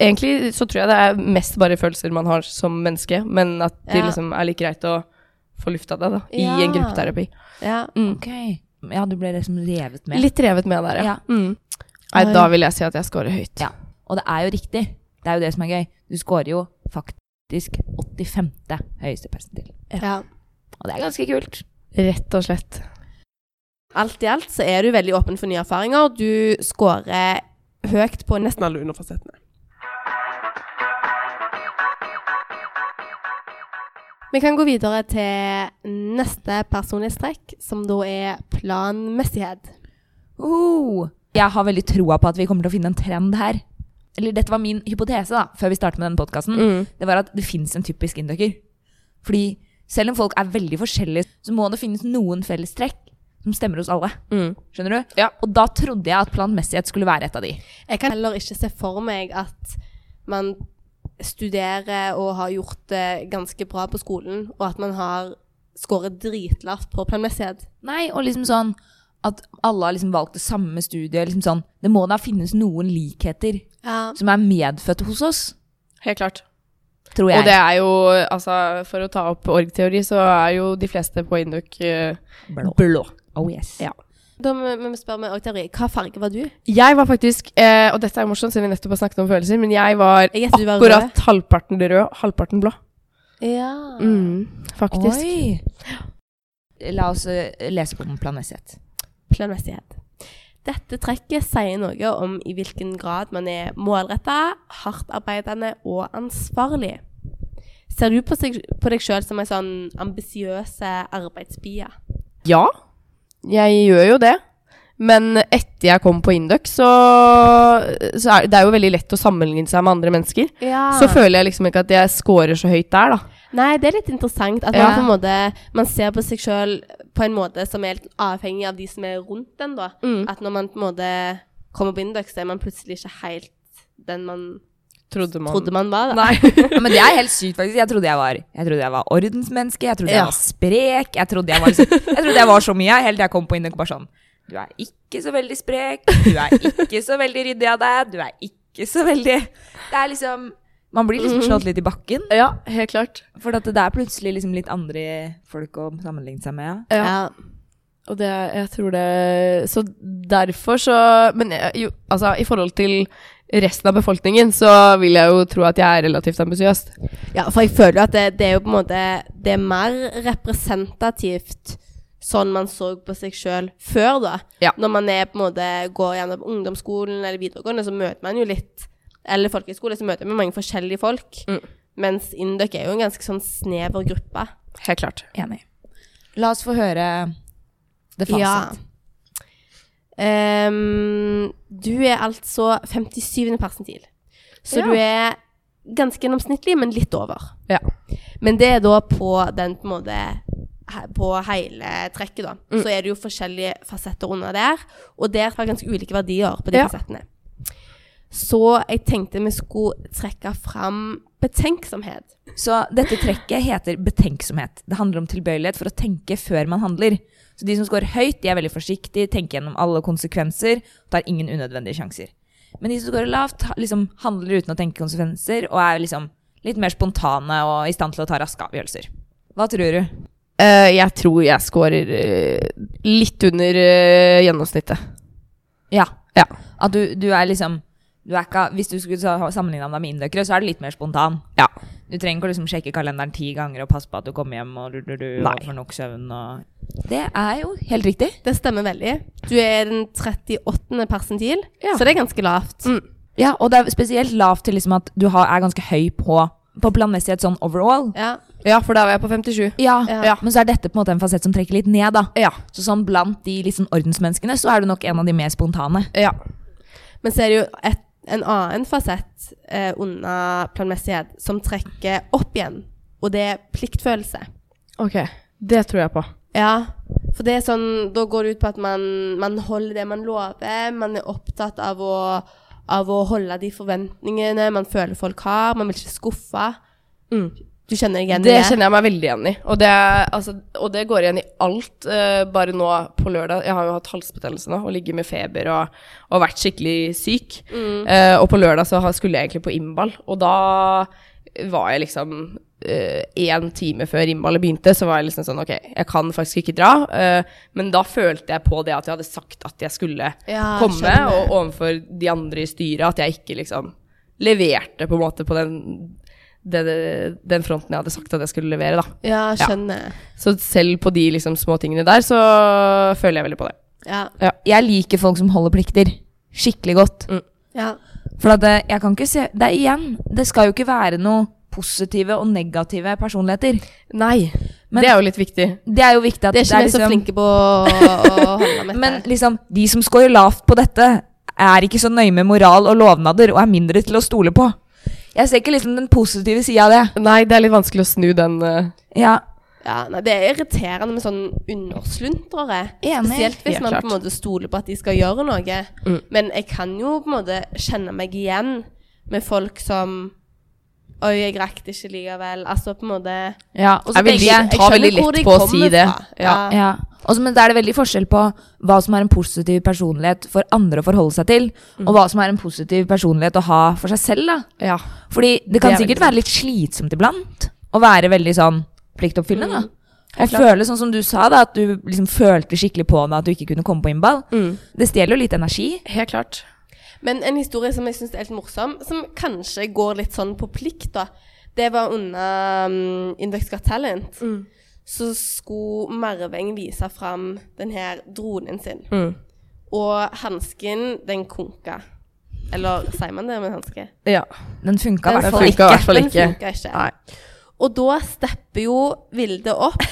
Speaker 3: Egentlig så tror jeg det er mest bare følelser man har som menneske, men at det
Speaker 2: Ja.
Speaker 3: liksom er like greit å få lufta det, da. I
Speaker 2: Ja.
Speaker 3: en gruppeterapi. Mm.
Speaker 2: ja.
Speaker 1: Ok. Ja, du ble liksom revet med.
Speaker 3: Litt revet med der, ja.
Speaker 1: Ja.
Speaker 3: Mm. Nei, da vil jeg si at jeg scorer høyt.
Speaker 1: Ja. Og det er jo riktig. Det er jo det som er gøy. Du scorer jo faktisk 85. høyeste persentil.
Speaker 2: ja.
Speaker 1: Og det er ganske kult.
Speaker 3: Rett og slett.
Speaker 2: Alt i alt så er du veldig åpen for nye erfaringer. Du scorer høyt på nesten alle underfasettene. Vi kan gå videre til neste personlighetstrekk, som da er planmessighet.
Speaker 1: Oh, jeg har veldig troa på at vi kommer til å finne en trend her. Eller dette var min hypotese da, før vi startet med denne podkasten.
Speaker 3: Mm.
Speaker 1: Det var at det fins en typisk inndøkker. Fordi selv om folk er veldig forskjellige, så må det finnes noen fellestrekk som stemmer hos alle. Skjønner du?
Speaker 3: Mm. Ja.
Speaker 1: Og da trodde jeg at planmessighet skulle være et av de.
Speaker 2: Jeg kan heller ikke se for meg at man studerer og har gjort det ganske bra på skolen, og at man har skåret dritlavt på planmessighet.
Speaker 1: Nei, og liksom sånn at alle har liksom valgt det samme studiet. Liksom sånn. Det må da finnes noen likheter
Speaker 2: Ja.
Speaker 1: som er medfødt hos oss,
Speaker 3: Helt klart.
Speaker 1: tror jeg.
Speaker 3: Og det er jo, altså, for å ta opp org-teori, så er jo de fleste på Induk eh,
Speaker 1: blå.
Speaker 3: blå.
Speaker 1: Oh yes.
Speaker 3: Ja.
Speaker 2: Da må må vi spørre med også, Terje, hva farge var du?
Speaker 3: Jeg var faktisk, eh, og dette er jo morsomt siden vi nettopp har snakket om følelser, men jeg var
Speaker 2: Jeg gjetter du var
Speaker 3: akkurat halvparten rød, halvparten blå.
Speaker 2: Ja.
Speaker 3: Mm, faktisk.
Speaker 1: Oi. La oss eh, lese på om planmessighet.
Speaker 2: Planmessighet. Dette trekket sier noe om i hvilken grad man er målretta, hardtarbeidende og ansvarlig. Ser du på, seg, på deg sjøl som ei sånn ambisiøs arbeidsbie?
Speaker 3: Ja, jeg gjør jo det. Men etter jeg kom på Induk, så, så er det er jo veldig lett å sammenligne seg med andre mennesker.
Speaker 2: Ja.
Speaker 3: Så føler jeg liksom ikke at jeg scorer så høyt der, da.
Speaker 2: Nei, det er litt interessant at man,
Speaker 3: Ja.
Speaker 2: på en måte, man ser på seg sjøl på en måte som er litt avhengig av de som er rundt en, da.
Speaker 3: Mm.
Speaker 2: At når man på en måte kommer på Indux, så er man plutselig ikke helt den man
Speaker 3: Trodde man.
Speaker 2: trodde man var. Da.
Speaker 3: Nei.
Speaker 1: Ja, men det er helt sykt, faktisk. Jeg trodde jeg var, jeg trodde jeg var ordensmenneske, jeg trodde jeg
Speaker 3: Ja.
Speaker 1: var sprek, jeg trodde jeg var, liksom, jeg trodde jeg var så mye, helt til jeg kom på Induk og bare sånn Du er ikke så veldig sprek, du er ikke så veldig ryddig av deg, du er ikke så veldig Det er liksom Man blir liksom
Speaker 3: Mhm.
Speaker 1: slått litt i bakken,
Speaker 3: ja, helt klart.
Speaker 1: for at det er plutselig liksom litt andre folk å sammenligne seg med. Ja.
Speaker 3: Ja. Og det, jeg tror det Så derfor så Men eh, jo, altså, i forhold til resten av befolkningen, så vil jeg jo tro at jeg er relativt ambisiøs.
Speaker 2: Ja, for jeg føler jo at det, det er jo på en måte Det er mer representativt sånn man så på seg sjøl før, da.
Speaker 3: Ja.
Speaker 2: Når man er på en måte går gjennom ungdomsskolen eller videregående, så møter man jo litt Eller folkehøyskole, så møter man mange forskjellige folk.
Speaker 3: Mm.
Speaker 2: Mens Indøk er jo en ganske sånn snever gruppe.
Speaker 3: Helt klart.
Speaker 1: Enig. La oss få høre det fasit.
Speaker 2: Ehm, du er altså 57. persentil. Så
Speaker 3: Ja.
Speaker 2: du er ganske gjennomsnittlig, men litt over.
Speaker 3: Ja.
Speaker 2: Men det er da på den på en måte he- på hele trekket, da.
Speaker 3: Mm.
Speaker 2: Så er det jo forskjellige fasetter under der, og der har jeg ganske ulike verdier på de
Speaker 3: Ja.
Speaker 2: fasettene. Så jeg tenkte vi skulle trekke fram betenksomhet.
Speaker 1: Så dette trekket heter betenksomhet. Det handler om tilbøyelighet for å tenke før man handler. Så de som scorer høyt, de er veldig forsiktige, tenker gjennom alle konsekvenser, tar ingen unødvendige sjanser. Men de som scorer lavt, ha- liksom handler uten å tenke konsekvenser, og er liksom litt mer spontane og i stand til å ta raske avgjørelser. Hva tror du?
Speaker 3: Eh, jeg tror jeg scorer eh, litt under eh, gjennomsnittet.
Speaker 1: Ja.
Speaker 3: Ja.
Speaker 1: At du, du er liksom du er ikke, Hvis du skulle sa- sammenligne deg med indøkere, så er du litt mer spontan.
Speaker 3: Ja.
Speaker 1: Du trenger ikke å liksom sjekke kalenderen ti ganger og passe på at du kommer hjem og, du, du, du,
Speaker 3: Nei.
Speaker 1: og får nok søvn og Det er jo helt riktig.
Speaker 2: Det stemmer veldig. Du er den 38. persentil,
Speaker 3: Ja.
Speaker 2: så
Speaker 3: Mm.
Speaker 2: det er ganske lavt.
Speaker 1: Ja, og det er spesielt lavt til liksom at du har, er ganske høy på, på planmessighet sånn overall.
Speaker 2: Ja.
Speaker 3: ja, for da var jeg på 57.
Speaker 1: Ja,
Speaker 2: Ja.
Speaker 1: men så er dette på en måte en fasett som trekker litt ned, da.
Speaker 3: Ja.
Speaker 1: Så sånn blant de litt sånn ordensmenneskene, så er du nok en av de mer spontane.
Speaker 3: Ja.
Speaker 2: Men så er det jo et, en annen fasett eh, under planmessighet som trekker opp igjen, og det er pliktfølelse.
Speaker 3: Ok, det tror jeg på.
Speaker 2: Ja, for det er sånn, da går det ut på at man, man holder det man lover, man er opptatt av å, av å holde de forventningene man føler folk har, man vil ikke skuffe.
Speaker 3: Mm.
Speaker 2: Du kjenner deg igjen i
Speaker 3: Det kjenner jeg meg veldig igjen i. Og det, altså, og det går igjen i alt. eh, bare nå på lørdag Jeg har jo hatt halsbetennelse nå og ligger med feber og, og vært skikkelig syk. Eh, og på lørdag så har- skulle jeg egentlig på innball, og da var jeg liksom Én time før innballet begynte, så var jeg liksom sånn OK, jeg kan faktisk ikke dra. eh, men da følte jeg på det at jeg hadde sagt at jeg skulle
Speaker 2: Ja,
Speaker 3: komme,
Speaker 2: skjønner.
Speaker 3: og overfor de andre i styret at jeg ikke liksom leverte på en måte på den, den, den fronten jeg hadde sagt at jeg skulle levere, da.
Speaker 2: Ja, skjønner.
Speaker 3: Så selv på de liksom små tingene der, så føler jeg veldig på det.
Speaker 2: Ja.
Speaker 1: Jeg liker folk som holder plikter. Skikkelig godt.
Speaker 2: Ja.
Speaker 1: For at eh, jeg kan ikke se Det er igjen, det skal jo ikke være noe positive og negative personligheter.
Speaker 3: Nei.
Speaker 1: Men-
Speaker 3: det er jo litt viktig.
Speaker 1: Det er jo viktig at
Speaker 2: Det er ikke vi så
Speaker 1: liksom-
Speaker 2: flinke på å, å holde med
Speaker 1: Men liksom, de som scorer lavt på dette, er ikke så nøye med moral og lovnader og er mindre til å stole på. Jeg ser ikke liksom den positive sida av det.
Speaker 3: Nei, det er litt vanskelig å snu den eh,
Speaker 1: Ja,
Speaker 2: Ja, nei, Det er irriterende med sånn undersluntrere.
Speaker 1: Enig.
Speaker 2: Spesielt hvis
Speaker 3: Helt
Speaker 2: man
Speaker 3: klart. Mm.
Speaker 2: på en måte stoler på at de skal gjøre noe. Men jeg kan jo på en måte kjenne meg igjen med folk som Oi, jeg rakk det ikke likevel. Altså på en måte
Speaker 1: ja. Og så
Speaker 3: Jeg vil
Speaker 1: tenker jeg,
Speaker 3: ta
Speaker 2: skjønner
Speaker 3: veldig lett
Speaker 2: hvor de
Speaker 3: på å
Speaker 2: kommer
Speaker 3: si det.
Speaker 2: fra. Ja.
Speaker 3: Ja.
Speaker 1: ja. Og så- men da er det veldig forskjell på hva som er en positiv personlighet for andre å forholde seg til, og hva som er en positiv personlighet å ha for seg selv. da.
Speaker 3: Mm. Ja.
Speaker 1: Fordi det kan
Speaker 3: Det er
Speaker 1: sikkert
Speaker 3: veldig sant.
Speaker 1: være litt slitsomt iblant å være veldig sånn pliktoppfyllende.
Speaker 3: Mm.
Speaker 1: da. Og føle sånn som du sa, da, at du liksom følte skikkelig på det at du ikke kunne komme på innball.
Speaker 3: Mm.
Speaker 1: Det stjeler jo litt energi.
Speaker 3: Helt klart.
Speaker 2: Men en historie som jeg syns er helt morsom, som kanskje går litt sånn på plikt, da. Det var under um, Index Got Talent. Så skulle Merveng vise fram den her dronen sin. Og hansken, den konka. Eller sier man det med hanske?
Speaker 3: Ja.
Speaker 1: Den funka i hvert
Speaker 2: Den
Speaker 3: Det
Speaker 1: fall
Speaker 2: funka
Speaker 1: ikke.
Speaker 3: funka i hvert fall
Speaker 2: Den
Speaker 3: ikke.
Speaker 2: funka ikke.
Speaker 3: Nei.
Speaker 2: Og da stepper jo Vilde opp.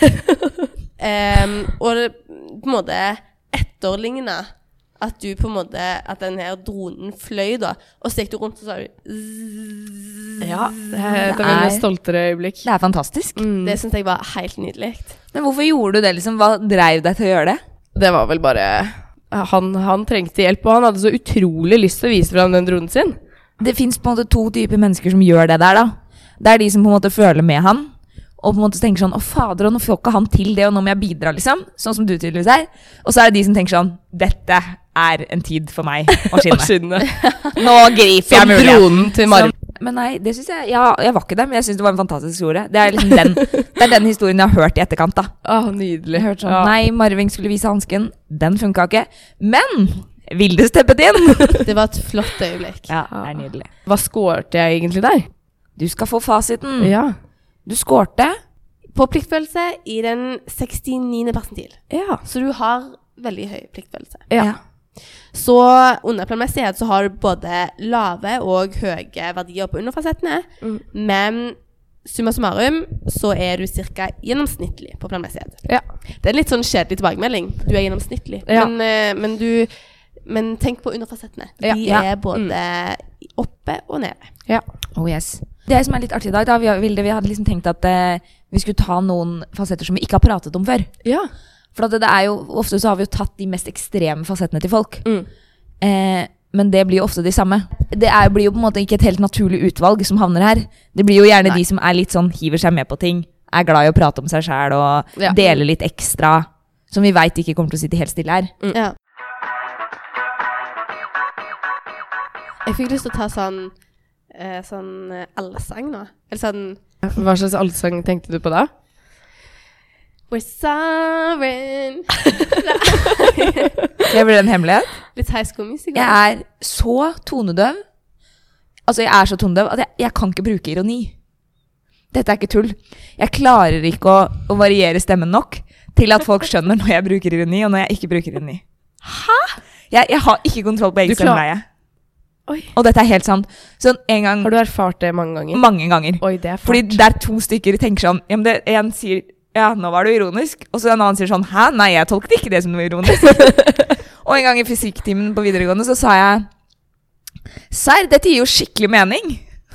Speaker 2: em, og det, på en måte etterligna at du på en måte At den her dronen fløy, da. Og så gikk du rundt og sa
Speaker 3: Ja, eh, det er et av
Speaker 1: Det
Speaker 3: mine
Speaker 1: er-
Speaker 3: stoltere øyeblikk.
Speaker 1: Det er fantastisk.
Speaker 3: Mm.
Speaker 2: Det syns jeg var helt nydelig.
Speaker 1: Men hvorfor gjorde du det? liksom? Hva dreiv deg til å gjøre det?
Speaker 3: Det var vel bare eh, han, han trengte hjelp, og han hadde så utrolig lyst til å vise fram den dronen sin.
Speaker 1: Det fins to typer mennesker som gjør det der. da. Det er de som på en måte føler med han, og på en måte tenker sånn 'Å, fader, og nå får ikke han til det, og nå må jeg bidra', liksom. Sånn som du tydeligvis er. Og så er det de som tenker sånn 'Dette er en tid for meg å
Speaker 3: Og
Speaker 1: skinne'.
Speaker 3: skinnet.
Speaker 1: nå griper jeg
Speaker 3: Som
Speaker 1: muligheten.
Speaker 3: dronen til Marv.
Speaker 1: Som- Men nei, det synes jeg, ja, jeg var ikke der, men jeg syns det var en fantastisk historie. Det er liksom den, det er den historien jeg har hørt i etterkant. da.
Speaker 3: Å, nydelig.
Speaker 1: Jeg hørte sånn,
Speaker 3: Ja.
Speaker 1: Nei, Marving skulle vise hansken. Den funka ikke. Men Vilde steppet inn!
Speaker 2: Det var et flott øyeblikk.
Speaker 1: Ja, det er nydelig.
Speaker 3: Hva skårte jeg egentlig der?
Speaker 1: Du skal få fasiten.
Speaker 3: Ja.
Speaker 1: Du skårte.
Speaker 2: På pliktfølelse i den 69. persentil.
Speaker 3: Ja.
Speaker 2: Så du har veldig høy pliktfølelse.
Speaker 3: ja.
Speaker 2: Så under planmessighet så har du både lave og høye verdier på underfasettene. Men summa summarum så er du ca. gjennomsnittlig på planmessighet.
Speaker 3: ja.
Speaker 2: Det er en litt sånn kjedelig tilbakemelding. Du er gjennomsnittlig.
Speaker 3: Ja.
Speaker 2: Men, eh, men, du, men tenk på underfasettene. De
Speaker 3: Ja. Ja.
Speaker 2: er både oppe og nede.
Speaker 3: ja.
Speaker 1: Oh yes. Det som er litt artig i dag, da, vi, har- Vilde, vi hadde liksom tenkt at eh, vi skulle ta noen fasetter som vi ikke har pratet om før.
Speaker 3: ja.
Speaker 1: For at det, det er jo, ofte så har vi jo tatt de mest ekstreme fasettene til folk. Eh, men det blir jo ofte de samme. Det er, blir jo på en måte ikke et helt naturlig utvalg som havner her. Det blir jo gjerne de som er litt sånn, hiver seg med på ting, er glad i å prate om seg sjæl og
Speaker 3: Ja.
Speaker 1: dele litt ekstra. Som vi veit ikke kommer til å sitte helt stille her.
Speaker 2: Ja. Jeg fikk lyst til å ta sånn, eh, sånn eh, allsang nå. Eller sånn
Speaker 3: Hva slags allsang tenkte du på da?
Speaker 2: We're sovereign.
Speaker 1: Det blir en hemmelighet.
Speaker 2: Litt high school musical.
Speaker 1: Jeg er så tonedøv. Altså, jeg er så tonedøv at jeg, jeg kan ikke bruke ironi. Dette er ikke tull. Jeg klarer ikke å, å variere stemmen nok til at folk skjønner når jeg bruker ironi, og når jeg ikke bruker ironi. Hæ? Jeg, jeg har ikke kontroll på
Speaker 3: Du
Speaker 1: egen
Speaker 3: klar-
Speaker 1: stemmeleie.
Speaker 3: Oi.
Speaker 1: Og dette er helt sant. Sånn en gang
Speaker 3: Har du erfart det mange ganger?
Speaker 1: mange ganger.
Speaker 3: Oi, det er fælt.
Speaker 1: Fordi der to stykker tenker sånn ja, men det, En sier ja, nå var du ironisk, og så en annen sier sånn hæ, nei, jeg tolket ikke det som noe ironisk. og en gang i fysikktimen på videregående så sa jeg serr, dette gir jo skikkelig mening.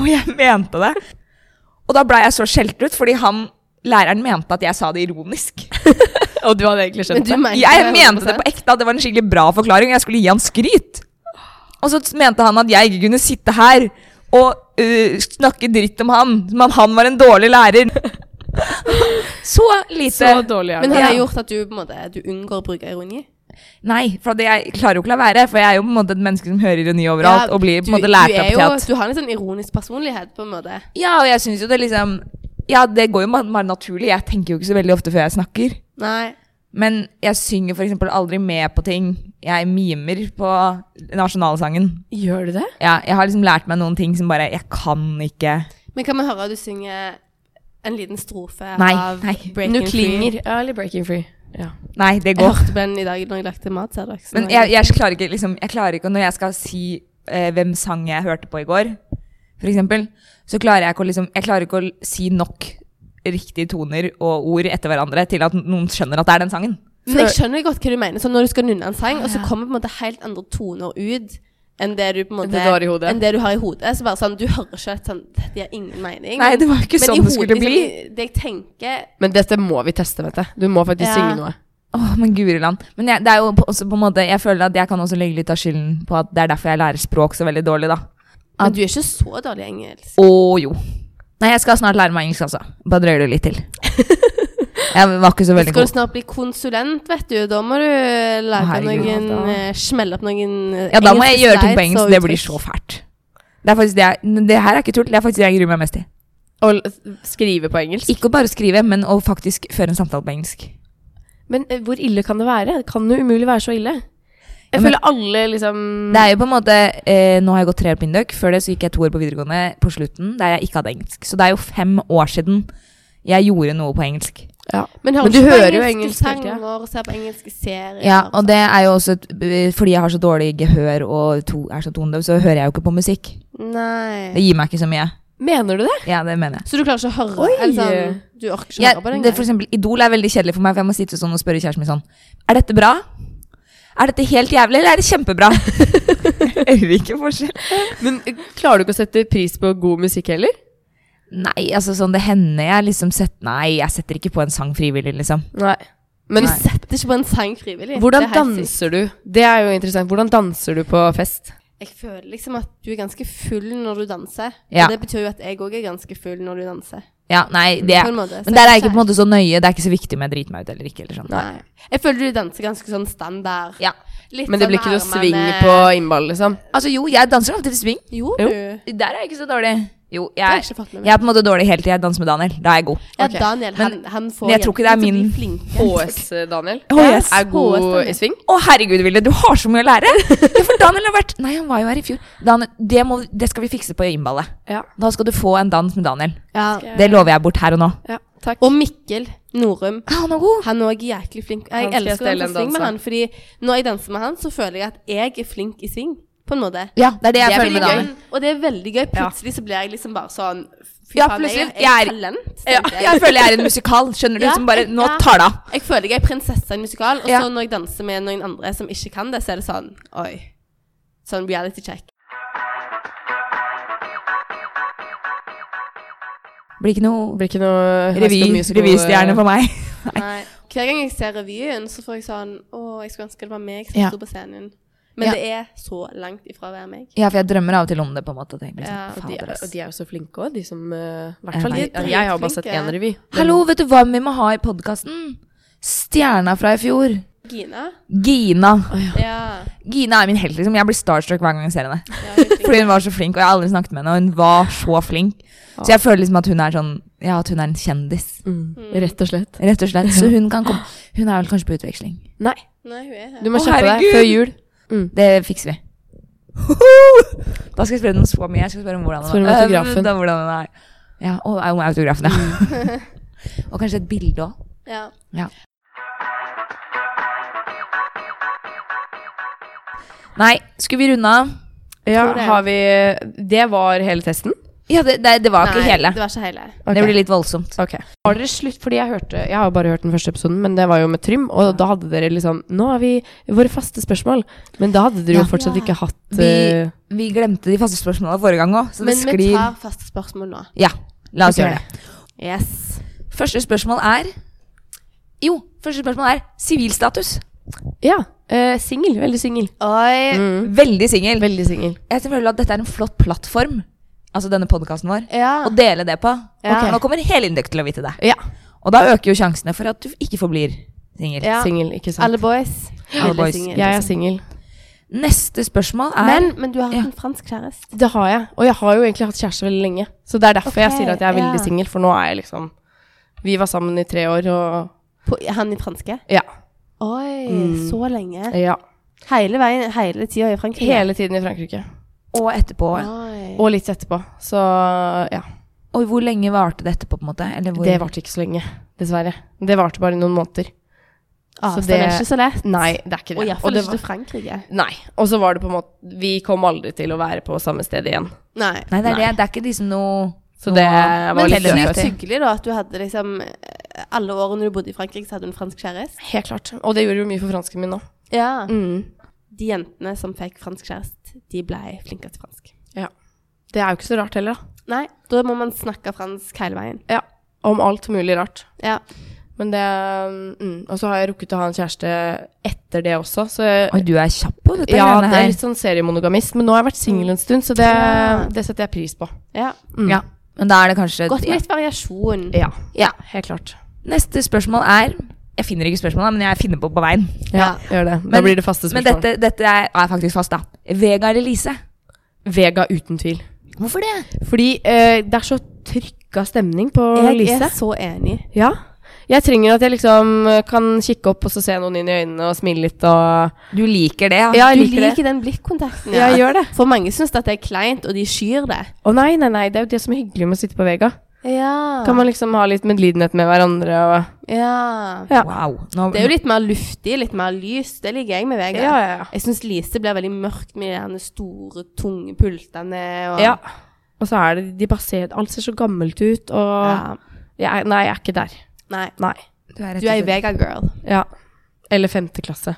Speaker 1: og jeg mente det. Og da blei jeg så skjelt ut, fordi han læreren mente at jeg sa det ironisk.
Speaker 3: og du hadde egentlig
Speaker 2: Men du mente
Speaker 1: Jeg mente det på ekte, at det var en skikkelig bra forklaring, og jeg skulle gi han skryt. Og så mente han at jeg ikke kunne sitte her og øh, snakke dritt om han, som om han var en dårlig lærer. så lite
Speaker 3: Så dårlig er
Speaker 2: Men
Speaker 3: det.
Speaker 2: har det
Speaker 1: Ja.
Speaker 2: gjort at du, på en måte, du unngår å bruke ironi?
Speaker 1: Nei, for det jeg klarer jo ikke å la være, for jeg er jo på en måte et menneske som hører ironi overalt,
Speaker 2: Ja,
Speaker 1: og blir på
Speaker 2: du-
Speaker 1: en måte lært
Speaker 2: du er
Speaker 1: opp til
Speaker 2: jo-
Speaker 1: at
Speaker 2: Du har en litt sånn ironisk personlighet, på en måte.
Speaker 1: Ja, og jeg syns jo det liksom Ja, det går jo ma- bare naturlig. Jeg tenker jo ikke så veldig ofte før jeg snakker.
Speaker 2: Nei.
Speaker 1: Men jeg synger f.eks. aldri med på ting. Jeg mimer på nasjonalsangen.
Speaker 3: Gjør du det?
Speaker 1: Ja, jeg har liksom lært meg noen ting som bare Jeg kan ikke
Speaker 2: Men kan vi høre at du synger en liten strofe
Speaker 1: Nei,
Speaker 2: av
Speaker 1: nei.
Speaker 2: Breaking Free?
Speaker 3: Ja, eller Breaking Free. Ja.
Speaker 1: Nei, det
Speaker 2: Jeg
Speaker 1: går.
Speaker 2: hørte på den i dag når jeg lagde mat. Ser dere. så
Speaker 1: Men
Speaker 2: nå-
Speaker 1: jeg, jeg klarer ikke liksom Jeg klarer ikke og når jeg skal si eh, hvem sang jeg hørte på i går, f.eks., så klarer jeg ikke å liksom Jeg klarer ikke å l- si nok riktige toner og ord etter hverandre til at noen skjønner at det er den sangen.
Speaker 2: Men jeg skjønner godt hva du mener. Så når du skal nynne en sang, og så kommer på en måte helt andre toner ut enn det du på en måte
Speaker 3: Enn det du har i hodet.
Speaker 2: enn det du har i hodet. Så bare sånn, du hører ikke at sånn, det gir ingen mening.
Speaker 1: Nei, det var ikke
Speaker 2: Men i
Speaker 1: sånn det skulle
Speaker 2: hodet,
Speaker 1: bli.
Speaker 2: liksom, Det jeg tenker
Speaker 3: Men dette må vi teste, vet du. Du må faktisk
Speaker 2: Ja.
Speaker 3: synge noe.
Speaker 1: Åh, men guriland. Men jeg, det er jo på- også på en måte Jeg føler at jeg kan også legge litt av skylden på at det er derfor jeg lærer språk så veldig dårlig, da.
Speaker 2: Men du er ikke så dårlig i engelsk.
Speaker 1: Å jo. Nei, jeg skal snart lære meg engelsk, altså. Bare drøyer det litt til. Jeg var ikke så veldig
Speaker 2: Skal du
Speaker 1: god.
Speaker 2: snart bli konsulent, vet du, da må du lage
Speaker 1: herregud,
Speaker 2: noen
Speaker 1: da.
Speaker 2: eh, Smelle opp noen eh,
Speaker 1: Ja, da må jeg
Speaker 2: engelske
Speaker 1: gjøre ting på
Speaker 2: slides
Speaker 1: engelsk.
Speaker 2: og
Speaker 1: Det blir
Speaker 2: uttrykk.
Speaker 1: så fælt. Det, er faktisk det, jeg, det her er ikke tull. Det er faktisk det jeg gruer meg mest til.
Speaker 3: Å l- skrive på engelsk.
Speaker 1: Ikke å bare skrive, men å faktisk føre en samtale på engelsk.
Speaker 3: Men eh, hvor ille kan det være? Det kan jo umulig være så ille.
Speaker 1: Ja,
Speaker 3: Jeg
Speaker 1: men-
Speaker 3: føler alle liksom
Speaker 1: Det er jo på en måte eh, Nå har jeg gått tre år på Induc. Før det så gikk jeg to år på videregående på slutten der jeg ikke hadde engelsk. Så det er jo fem år siden jeg gjorde noe på engelsk.
Speaker 3: ja.
Speaker 2: Men,
Speaker 3: Men du
Speaker 2: ikke på
Speaker 3: hører jo
Speaker 2: engelske
Speaker 3: engelsk hele tida.
Speaker 2: sanger, ser på engelske serier.
Speaker 1: Ja, og det er jo også et, eh, fordi jeg har så dårlig gehør og to, er så tonedøv, så hører jeg jo ikke på musikk.
Speaker 2: Nei.
Speaker 1: Det gir meg ikke så mye.
Speaker 3: Mener du det?
Speaker 1: Ja, det mener jeg.
Speaker 2: Så du klarer ikke å høre?
Speaker 3: Oi.
Speaker 2: Eller sånn, du orker ikke å
Speaker 1: Ja,
Speaker 2: høre på det
Speaker 1: det, for eksempel, Idol er veldig kjedelig for meg, for jeg må sitte sånn og spørre kjæresten min sånn Er dette bra? Er dette helt jævlig, eller er det kjempebra? Hvilken forskjell?
Speaker 3: Men eh, klarer du ikke å sette pris på god musikk heller?
Speaker 1: Nei, altså sånn det hender jeg liksom sett, Nei, jeg setter ikke på en sang frivillig, liksom.
Speaker 3: Nei. Men
Speaker 1: Nei.
Speaker 2: Setter ikke på en sang frivillig.
Speaker 3: hvordan
Speaker 2: Det er helt sykt.
Speaker 3: danser du? Det er jo interessant. Hvordan danser du på fest?
Speaker 2: Jeg føler liksom at du er ganske full når du danser.
Speaker 1: Ja.
Speaker 2: Og det betyr jo at jeg òg er ganske full når du danser.
Speaker 1: Ja, nei, det
Speaker 2: På en måte, så
Speaker 1: Men der er jeg
Speaker 2: det er
Speaker 1: ikke på en måte så nøye. Det er ikke så viktig om jeg driter meg ut eller ikke. eller sånn.
Speaker 2: Nei. Jeg føler du danser ganske sånn standard.
Speaker 1: Ja.
Speaker 2: Litt
Speaker 3: Men det blir
Speaker 2: sånn
Speaker 3: ikke noe
Speaker 2: armene-
Speaker 3: sving på innball, liksom?
Speaker 1: Altså jo, jeg danser alltid til sving.
Speaker 2: Jo,
Speaker 3: Jo.
Speaker 2: du.
Speaker 1: Der er jeg ikke så dårlig. Jo,
Speaker 2: Det har jeg
Speaker 1: jeg,
Speaker 2: ikke fått
Speaker 1: jeg
Speaker 2: med meg.
Speaker 1: er på en måte dårlig helt til jeg danser med Daniel. Da er jeg god.
Speaker 2: Ja,
Speaker 3: ok.
Speaker 2: Daniel, han, han får
Speaker 1: men jeg tror ikke det er
Speaker 2: jentene til å
Speaker 1: min-
Speaker 2: bli flinke. eh,
Speaker 3: HS-Daniel
Speaker 1: HS.
Speaker 3: er god
Speaker 2: HS-Daniel.
Speaker 3: i sving.
Speaker 1: Å, herregud, Ville, du har så mye å lære! Ja, for Daniel har vært Nei, han var jo her i fjor. Daniel, det, må, det skal vi fikse på innballet.
Speaker 3: Ja.
Speaker 1: Da skal du få en dans med Daniel.
Speaker 2: Ja.
Speaker 1: Det lover jeg bort her og nå.
Speaker 3: ja. Takk.
Speaker 2: Og Mikkel Norum.
Speaker 1: Ja, Ah, Han er god.
Speaker 2: Han er også jæklig flink. Jeg
Speaker 3: Han skal
Speaker 2: elsker å
Speaker 3: stelle
Speaker 2: danse
Speaker 3: en
Speaker 2: sving med
Speaker 3: dans, da.
Speaker 2: han, fordi når jeg danser med han, så føler jeg at jeg er flink i sving, på en måte.
Speaker 1: Ja, det er det jeg
Speaker 3: Det er
Speaker 1: føler med
Speaker 3: veldig
Speaker 1: Daniel.
Speaker 2: Men, og det er veldig gøy. Plutselig så blir jeg liksom bare sånn Fy
Speaker 1: Ja,
Speaker 2: faen, jeg,
Speaker 1: plutselig.
Speaker 2: jeg er
Speaker 1: Jeg er-
Speaker 2: talent.
Speaker 1: Ja,
Speaker 2: tenkte
Speaker 1: jeg føler jeg er en musikal. Skjønner du?
Speaker 2: Ja,
Speaker 1: Som bare Nå
Speaker 2: ja.
Speaker 1: tar det av.
Speaker 2: Jeg føler jeg er prinsesse i en musikal, og
Speaker 1: Ja.
Speaker 2: så når jeg danser med noen andre som ikke kan det, så er det sånn Oi. Sånn reality check.
Speaker 1: Blir ikke noe
Speaker 3: Blir ikke noe
Speaker 1: revy,
Speaker 3: eh,
Speaker 1: revystjerne for meg.
Speaker 2: Nei. Hver gang jeg ser revyen, så får jeg sånn Å, jeg skulle ønske det var meg som
Speaker 1: Ja.
Speaker 2: sto på scenen. Men
Speaker 1: Ja.
Speaker 2: det er så langt ifra å være meg.
Speaker 1: Ja, for jeg drømmer av og til om det, på en måte. Tenker, liksom,
Speaker 2: Ja, og
Speaker 3: Og de,
Speaker 1: fader, ass.
Speaker 3: og de er jo så flinke òg, de som eh, hvert
Speaker 1: Ja,
Speaker 3: fall,
Speaker 1: de
Speaker 3: de,
Speaker 2: er
Speaker 3: Jeg har bare sett
Speaker 2: dritflinke.
Speaker 3: én revy. Den-
Speaker 1: Hallo, vet du hva vi må ha i podkasten? Stjerna fra i fjor.
Speaker 2: Gina?
Speaker 1: Gina.
Speaker 2: Ja.
Speaker 1: Gina er min helt, liksom. Jeg blir starstruck hver gang jeg ser henne.
Speaker 2: ja hun er flink.
Speaker 1: Fordi hun var så flink, og jeg har aldri snakket med henne, og hun var så flink. Så jeg føler liksom at hun er sånn Ja, at hun er en kjendis,
Speaker 3: Mm. Rett og slett.
Speaker 1: rett og slett. Så hun kan komme Hun er vel kanskje på utveksling.
Speaker 3: Nei,
Speaker 2: Nei, hun er
Speaker 3: du
Speaker 2: her.
Speaker 3: må
Speaker 1: Å,
Speaker 3: kjøpe deg
Speaker 1: herregud!
Speaker 3: før jul.
Speaker 1: Det fikser vi. Da skal jeg spørre noe så mye. Jeg skal spørre om hvordan
Speaker 3: Spør om
Speaker 1: er.
Speaker 3: autografen. Mm.
Speaker 1: Øh, Da, hvordan den er. Ja, og om autografen, ja. og kanskje et bilde òg.
Speaker 2: Ja.
Speaker 1: Ja. Nei, skulle vi runde av?
Speaker 3: Ja,
Speaker 2: Tror det.
Speaker 3: har vi Det var hele testen?
Speaker 1: Ja, det, det, det var ikke
Speaker 2: Nei,
Speaker 1: hele.
Speaker 2: Det var ikke hele.
Speaker 1: Det blir litt voldsomt.
Speaker 3: Ok. Har dere slutt? Fordi jeg hørte Jeg har jo bare hørt den første episoden, men det var jo med Trym, og da hadde dere liksom Nå har vi våre faste spørsmål, men da hadde dere
Speaker 1: Ja.
Speaker 3: jo fortsatt ikke hatt
Speaker 1: Vi,
Speaker 3: eh,
Speaker 1: vi glemte de faste spørsmålene forrige gang òg, så det
Speaker 2: Men vi
Speaker 1: sklir.
Speaker 2: tar faste spørsmål nå.
Speaker 1: Ja, la oss
Speaker 3: Ok.
Speaker 1: gjøre det.
Speaker 2: Yes.
Speaker 1: Første spørsmål er Jo, første spørsmål er sivilstatus.
Speaker 3: Ja. Uh, singel. Veldig singel.
Speaker 2: Oi.
Speaker 3: Mm.
Speaker 1: Veldig singel.
Speaker 3: Veldig singel.
Speaker 1: Jeg føler at dette er en flott plattform, altså denne podkasten vår,
Speaker 2: Ja.
Speaker 1: å dele det på.
Speaker 2: Ja.
Speaker 1: Nå kommer Helindøk til å vite det.
Speaker 3: Ja.
Speaker 1: Og da øker jo sjansene for at du ikke forblir singel.
Speaker 2: ja.
Speaker 3: Singel, ikke sant.
Speaker 2: Alle boys.
Speaker 1: Alle
Speaker 2: Veldig
Speaker 1: boys.
Speaker 2: single.
Speaker 3: Jeg er singel.
Speaker 1: Neste spørsmål er
Speaker 2: Men, men du har hatt
Speaker 1: Ja.
Speaker 2: en fransk kjæreste.
Speaker 3: Det har jeg. Og jeg har jo egentlig hatt kjæreste veldig lenge. Så det er derfor jeg
Speaker 2: Ok,
Speaker 3: sier at jeg er veldig
Speaker 2: ja.
Speaker 3: singel, for nå er jeg liksom Vi var sammen i tre år, og
Speaker 2: På, han i franske?
Speaker 3: Ja.
Speaker 1: Mm.
Speaker 2: Oi, så lenge.
Speaker 3: ja.
Speaker 2: Hele veien, hele tida i Frankrike.
Speaker 3: Hele tiden i Frankrike.
Speaker 1: Og etterpå.
Speaker 2: Oi.
Speaker 3: Og litt etterpå. Så ja.
Speaker 1: Og hvor lenge varte det etterpå, på en måte? Eller hvor,
Speaker 3: Det varte ikke så lenge, dessverre. Det varte bare noen måneder.
Speaker 2: Ah,
Speaker 3: så
Speaker 2: så
Speaker 3: det-
Speaker 2: det er ikke så lett.
Speaker 3: Nei, det er ikke
Speaker 2: Og
Speaker 3: det.
Speaker 2: iallfall
Speaker 3: det
Speaker 2: ikke til Frankrike.
Speaker 3: Nei. Og så var det på en måte Vi kom aldri til å være på samme sted igjen.
Speaker 2: Nei.
Speaker 1: Nei, det er,
Speaker 3: Nei.
Speaker 1: Det, det er ikke liksom noe
Speaker 3: Så det
Speaker 1: noe-
Speaker 3: var
Speaker 2: Men
Speaker 3: litt
Speaker 2: sykt
Speaker 3: dødt.
Speaker 2: hyggelig da at du hadde liksom eh, Alle årene du bodde i Frankrike, så hadde du en fransk kjæreste.
Speaker 3: Helt klart. Og det gjorde jo mye for fransken min nå.
Speaker 2: Ja.
Speaker 3: Mm.
Speaker 2: De jentene som fikk fransk kjæreste, de ble flinke til fransk.
Speaker 3: Ja. Det er jo ikke så rart heller, da.
Speaker 2: Nei, da må man snakke fransk hele veien.
Speaker 3: Ja. Om alt mulig rart.
Speaker 2: Ja.
Speaker 3: Men det mm. Og så har jeg rukket å ha en kjæreste etter det også, så jeg,
Speaker 1: Oi, du er kjapp på dette
Speaker 3: Ja,
Speaker 1: greiene
Speaker 3: det er
Speaker 1: her.
Speaker 3: litt sånn seriemonogamist, men nå har jeg vært singel en stund, så det,
Speaker 2: Ja.
Speaker 3: det setter jeg pris på.
Speaker 2: ja.
Speaker 3: Mm.
Speaker 1: Ja. Men da er det kanskje
Speaker 2: Godt
Speaker 1: ja.
Speaker 2: med litt variasjon.
Speaker 3: Ja.
Speaker 1: Ja.
Speaker 3: Helt klart.
Speaker 1: Neste spørsmål er Jeg finner ikke spørsmålet, men jeg finner på på veien.
Speaker 3: Ja, gjør det. da
Speaker 1: Men-
Speaker 3: blir det faste
Speaker 1: Men
Speaker 3: spørsmål.
Speaker 1: dette, dette er, er faktisk fast, da. Vega eller Lise?
Speaker 3: Vega uten tvil.
Speaker 1: Hvorfor det?
Speaker 3: Fordi eh, det er så trykka stemning på
Speaker 2: Jeg
Speaker 3: Lise.
Speaker 2: er så enig.
Speaker 3: Ja. Jeg trenger at jeg liksom eh, kan kikke opp og så se noen inn i øynene og smile litt og
Speaker 1: Du liker det, ja?
Speaker 3: Ja, jeg
Speaker 2: Du
Speaker 3: liker det.
Speaker 2: liker den blikkontakten.
Speaker 3: Jeg gjør det.
Speaker 2: For mange syns at det er kleint, og de skyr det.
Speaker 3: Å nei, nei, nei, det er jo det som er hyggelig med å sitte på Vega.
Speaker 2: Ja.
Speaker 3: Kan man liksom ha litt medlidenhet med hverandre og
Speaker 2: ja.
Speaker 3: Ja.
Speaker 1: Wow. Nå,
Speaker 2: Det er jo litt mer luftig, litt mer lys. Det liker jeg med Vega.
Speaker 3: Ja, ja, ja.
Speaker 2: Jeg syns Lise blir veldig mørkt med de her store, tunge pultene. Og,
Speaker 3: Ja. Og så er det de bare ser Alt ser så gammelt ut, og
Speaker 2: Ja.
Speaker 3: jeg, er- Nei, jeg er ikke der.
Speaker 2: Nei.
Speaker 3: Nei.
Speaker 1: du er, rett og
Speaker 2: Du er
Speaker 1: slett-
Speaker 2: ei Vega-girl.
Speaker 3: Ja. Eller femte klasse.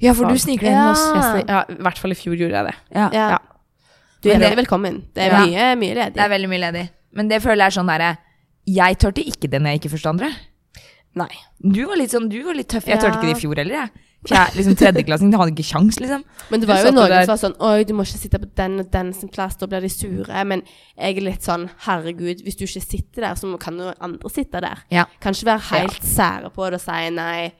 Speaker 1: Ja, for du sniker deg inn hos
Speaker 2: Ja.
Speaker 3: Jeg sni- ja, I hvert fall i fjor gjorde jeg det.
Speaker 1: Ja.
Speaker 2: Ja.
Speaker 3: Ja.
Speaker 2: Du er
Speaker 1: Men det-
Speaker 2: veldig velkommen. Det er
Speaker 1: Ja.
Speaker 2: mye, mye
Speaker 1: Det er
Speaker 2: ledig.
Speaker 1: veldig mye ledig. Men det føler jeg er sånn derre Jeg tørte ikke det når jeg ikke forstod andre.
Speaker 3: Nei.
Speaker 1: Du var litt sånn, du var litt tøff. Jeg
Speaker 2: Ja.
Speaker 1: tørte ikke det i fjor heller, jeg. Fjerde, liksom Tredjeklassing, du hadde ikke kjangs, liksom.
Speaker 2: Men det var
Speaker 3: Du
Speaker 2: jo
Speaker 3: satt jo
Speaker 2: noen som
Speaker 3: der.
Speaker 2: var sånn Oi, du må ikke sitte på den og den sin plass, da blir de sure. Men jeg er litt sånn Herregud, hvis du ikke sitter der, så må- kan jo andre sitte der.
Speaker 1: Ja.
Speaker 2: Kan ikke være helt sære på det og si nei,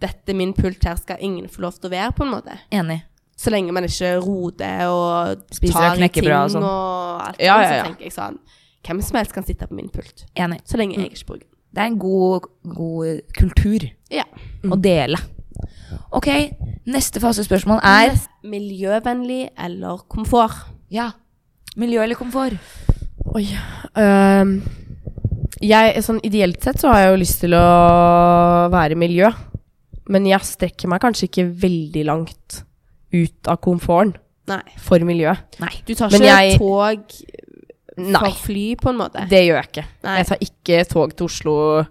Speaker 2: dette er min pult, her skal ingen få lov til å være, på en måte.
Speaker 1: Enig.
Speaker 2: Så lenge man ikke roter og
Speaker 1: Spiser
Speaker 2: tar i ting
Speaker 1: knekkebrød og
Speaker 2: og,
Speaker 1: sånn.
Speaker 2: alt
Speaker 3: Ja,
Speaker 2: sånt,
Speaker 3: ja, ja.
Speaker 2: så tenker jeg sånn Hvem som helst kan sitte på min pult.
Speaker 1: Enig.
Speaker 2: Så lenge jeg ikke bruker den.
Speaker 1: Det er en god, god kultur
Speaker 2: Ja.
Speaker 1: å dele. Ok, neste fasespørsmål er
Speaker 2: Miljøvennlig eller komfort?
Speaker 1: ja, miljø eller komfort?
Speaker 3: Oi. øhm, jeg, sånn ideelt sett så har jeg jo lyst til å være i miljø. Men jeg strekker meg kanskje ikke veldig langt ut av komforten
Speaker 2: Nei.
Speaker 3: for miljøet.
Speaker 1: Nei.
Speaker 2: Du tar
Speaker 3: Men
Speaker 2: ikke
Speaker 3: jeg-
Speaker 2: tog
Speaker 3: Nei,
Speaker 2: for fly, på en måte?
Speaker 3: det gjør jeg ikke.
Speaker 2: Nei.
Speaker 3: Jeg tar ikke tog til Oslo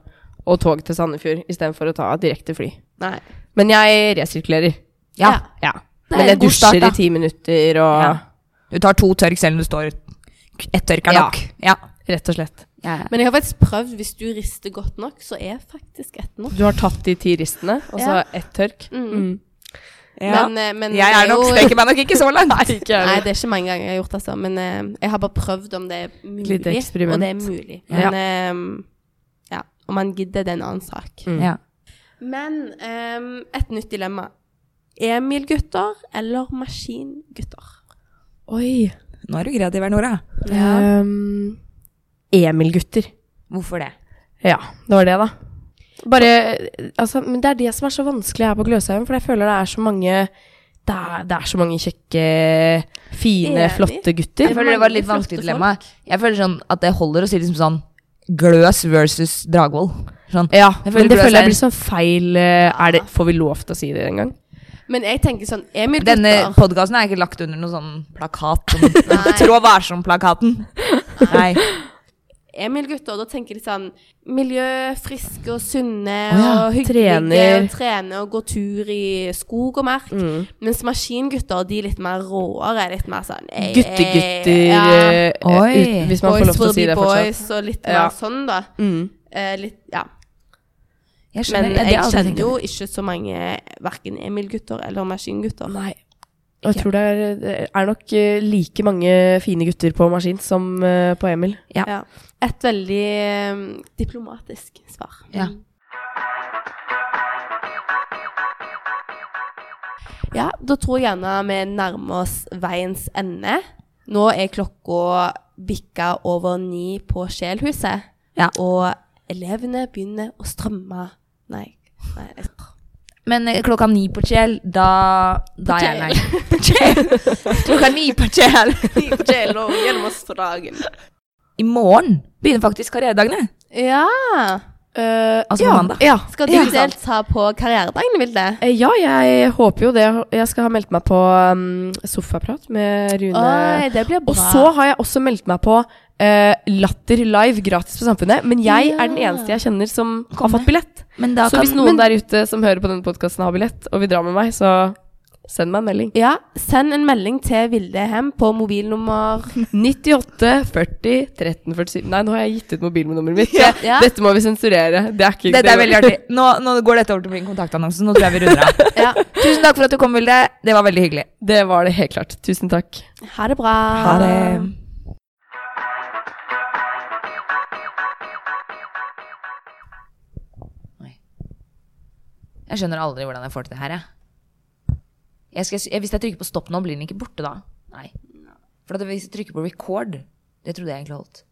Speaker 3: og tog til Sandefjord istedenfor å ta direkte fly.
Speaker 2: Nei.
Speaker 3: Men jeg resirkulerer.
Speaker 1: Ja.
Speaker 3: Ja.
Speaker 1: Det er
Speaker 3: Men
Speaker 1: en
Speaker 3: jeg
Speaker 1: god start,
Speaker 3: dusjer
Speaker 1: da.
Speaker 3: i ti minutter og
Speaker 1: Ja. Du tar to tørk selv om du står Ett tørk er
Speaker 3: Ja.
Speaker 1: nok. Ja.
Speaker 3: Rett og slett.
Speaker 1: Ja, ja.
Speaker 2: Men jeg har faktisk prøvd, hvis du rister godt nok, så er faktisk ett nok.
Speaker 3: Du har tatt de ti ristene, og så
Speaker 2: Ja.
Speaker 3: ett tørk. Mm.
Speaker 2: Men, eh, men
Speaker 1: jeg er
Speaker 2: det
Speaker 1: nok,
Speaker 2: jo-
Speaker 1: strekker meg nok ikke så langt.
Speaker 2: Nei, det er ikke mange ganger jeg har gjort det, altså. Men eh, jeg har bare prøvd om det er mulig.
Speaker 3: Lite eksperiment.
Speaker 2: Og det er mulig.
Speaker 3: Ja.
Speaker 2: Men eh, ja, om man gidder, det er en annen sak.
Speaker 3: Mm.
Speaker 1: Ja.
Speaker 2: Men eh, et nytt dilemma. Emil-gutter eller maskingutter?
Speaker 3: Oi.
Speaker 1: Nå er du kreativ her, Nora.
Speaker 3: Ehm, Emil-gutter.
Speaker 1: Hvorfor det?
Speaker 3: Ja, det var det, da. Bare, altså, men det er det som er så vanskelig her på Gløshaugen, for jeg føler det er så mange det er, det er så mange kjekke, fine,
Speaker 2: Enig.
Speaker 3: flotte gutter.
Speaker 1: Jeg føler det var et litt
Speaker 2: Mange flotte
Speaker 1: vanskelig dilemma. Jeg føler sånn at det holder å si liksom sånn Gløs versus Dragvoll. Sånn.
Speaker 3: Ja,
Speaker 1: Jeg føler
Speaker 3: men det
Speaker 1: Gløshaugen-
Speaker 3: føler jeg blir sånn feil eh, er det, Får vi lov til å si det en gang?
Speaker 2: Men jeg tenker sånn Emil-gutter
Speaker 1: Denne podkasten er ikke lagt under noen sånn plakat. Sånn, Trå varsom-plakaten. Nei.
Speaker 2: Emil-gutter, da tenker de sånn miljø, friske og sunne
Speaker 3: Å ja,
Speaker 2: og hyggelige.
Speaker 3: trener. Mm.
Speaker 2: Og trene og gå tur i skog og mark. Mens maskingutter, de er litt mer råere. Litt mer sånn «Ei, ei,
Speaker 3: Guttegutter
Speaker 2: ja,
Speaker 3: eh,
Speaker 1: Oi.
Speaker 3: ut- Hvis man får
Speaker 2: Boys
Speaker 3: lov til
Speaker 2: will
Speaker 3: å si
Speaker 2: be
Speaker 3: det fortsatt.
Speaker 2: boys, og litt mer
Speaker 3: Ja.
Speaker 2: sånn, da.
Speaker 3: Mm.
Speaker 2: Eh, litt, ja.
Speaker 1: Jeg skjønner,
Speaker 2: Men
Speaker 1: ja, det
Speaker 2: jeg
Speaker 1: har aldri tenkt
Speaker 2: kjenner
Speaker 1: over.
Speaker 2: jo ikke så mange verken Emil-gutter eller maskingutter.
Speaker 3: Nei. Og jeg tror det er, det er nok eh, like mange fine gutter på maskin som eh, på Emil.
Speaker 1: Ja.
Speaker 2: Ja. Et veldig eh, diplomatisk svar.
Speaker 1: Ja.
Speaker 2: Ja, da tror jeg gjerne vi nærmer oss veiens ende. Nå er klokka bikka over ni på Sjelhuset,
Speaker 1: Ja.
Speaker 2: og elevene begynner å strømme. Nei, nei jeg-
Speaker 1: Men eh, klokka ni på Kjell, da, da er jeg
Speaker 2: Kjell.
Speaker 1: nei. På Kjell. klokka ni på Kjell. I morgen begynner faktisk karrieredagene.
Speaker 2: Ja!
Speaker 1: Altså på
Speaker 3: ja.
Speaker 1: mandag.
Speaker 3: Ja.
Speaker 2: Skal du
Speaker 1: Ja.
Speaker 2: delta på karrieredagen, Vilde?
Speaker 3: Eh, Ja, jeg håper jo det. Jeg skal ha meldt meg på um, sofaprat med Rune.
Speaker 2: Oi, det blir bra.
Speaker 3: og så har jeg også meldt meg på eh, Latter live gratis på Samfunnet. Men jeg er den
Speaker 2: Ja.
Speaker 3: eneste jeg kjenner som har fått billett.
Speaker 1: Men da
Speaker 3: så
Speaker 1: kan
Speaker 3: hvis noen
Speaker 1: men,
Speaker 3: der ute som hører på denne podkasten har billett, og vil dra med meg, så send meg en melding.
Speaker 2: Ja, send en melding til Vilde Hem på mobilnummer
Speaker 3: 98 40 13 47 Nei, nå har jeg gitt ut mobilnummeret mitt.
Speaker 2: Ja. Ja.
Speaker 3: Dette må vi sensurere. Det er ikke
Speaker 1: Dette er veldig artig. Nå, nå går dette over til å bli en kontaktannonse. så Nå tror jeg vi runder av.
Speaker 2: Ja.
Speaker 1: Tusen takk for at du kom, Vilde. Det var veldig hyggelig.
Speaker 3: Det var det helt klart. Tusen takk.
Speaker 2: Ha det bra.
Speaker 1: Ha det. Oi. Jeg skjønner aldri hvordan jeg får til det her, jeg. jeg, skal, jeg hvis jeg trykker på stopp nå, blir den ikke borte da? Nei. For at hvis jeg trykker på record, det trodde jeg egentlig holdt.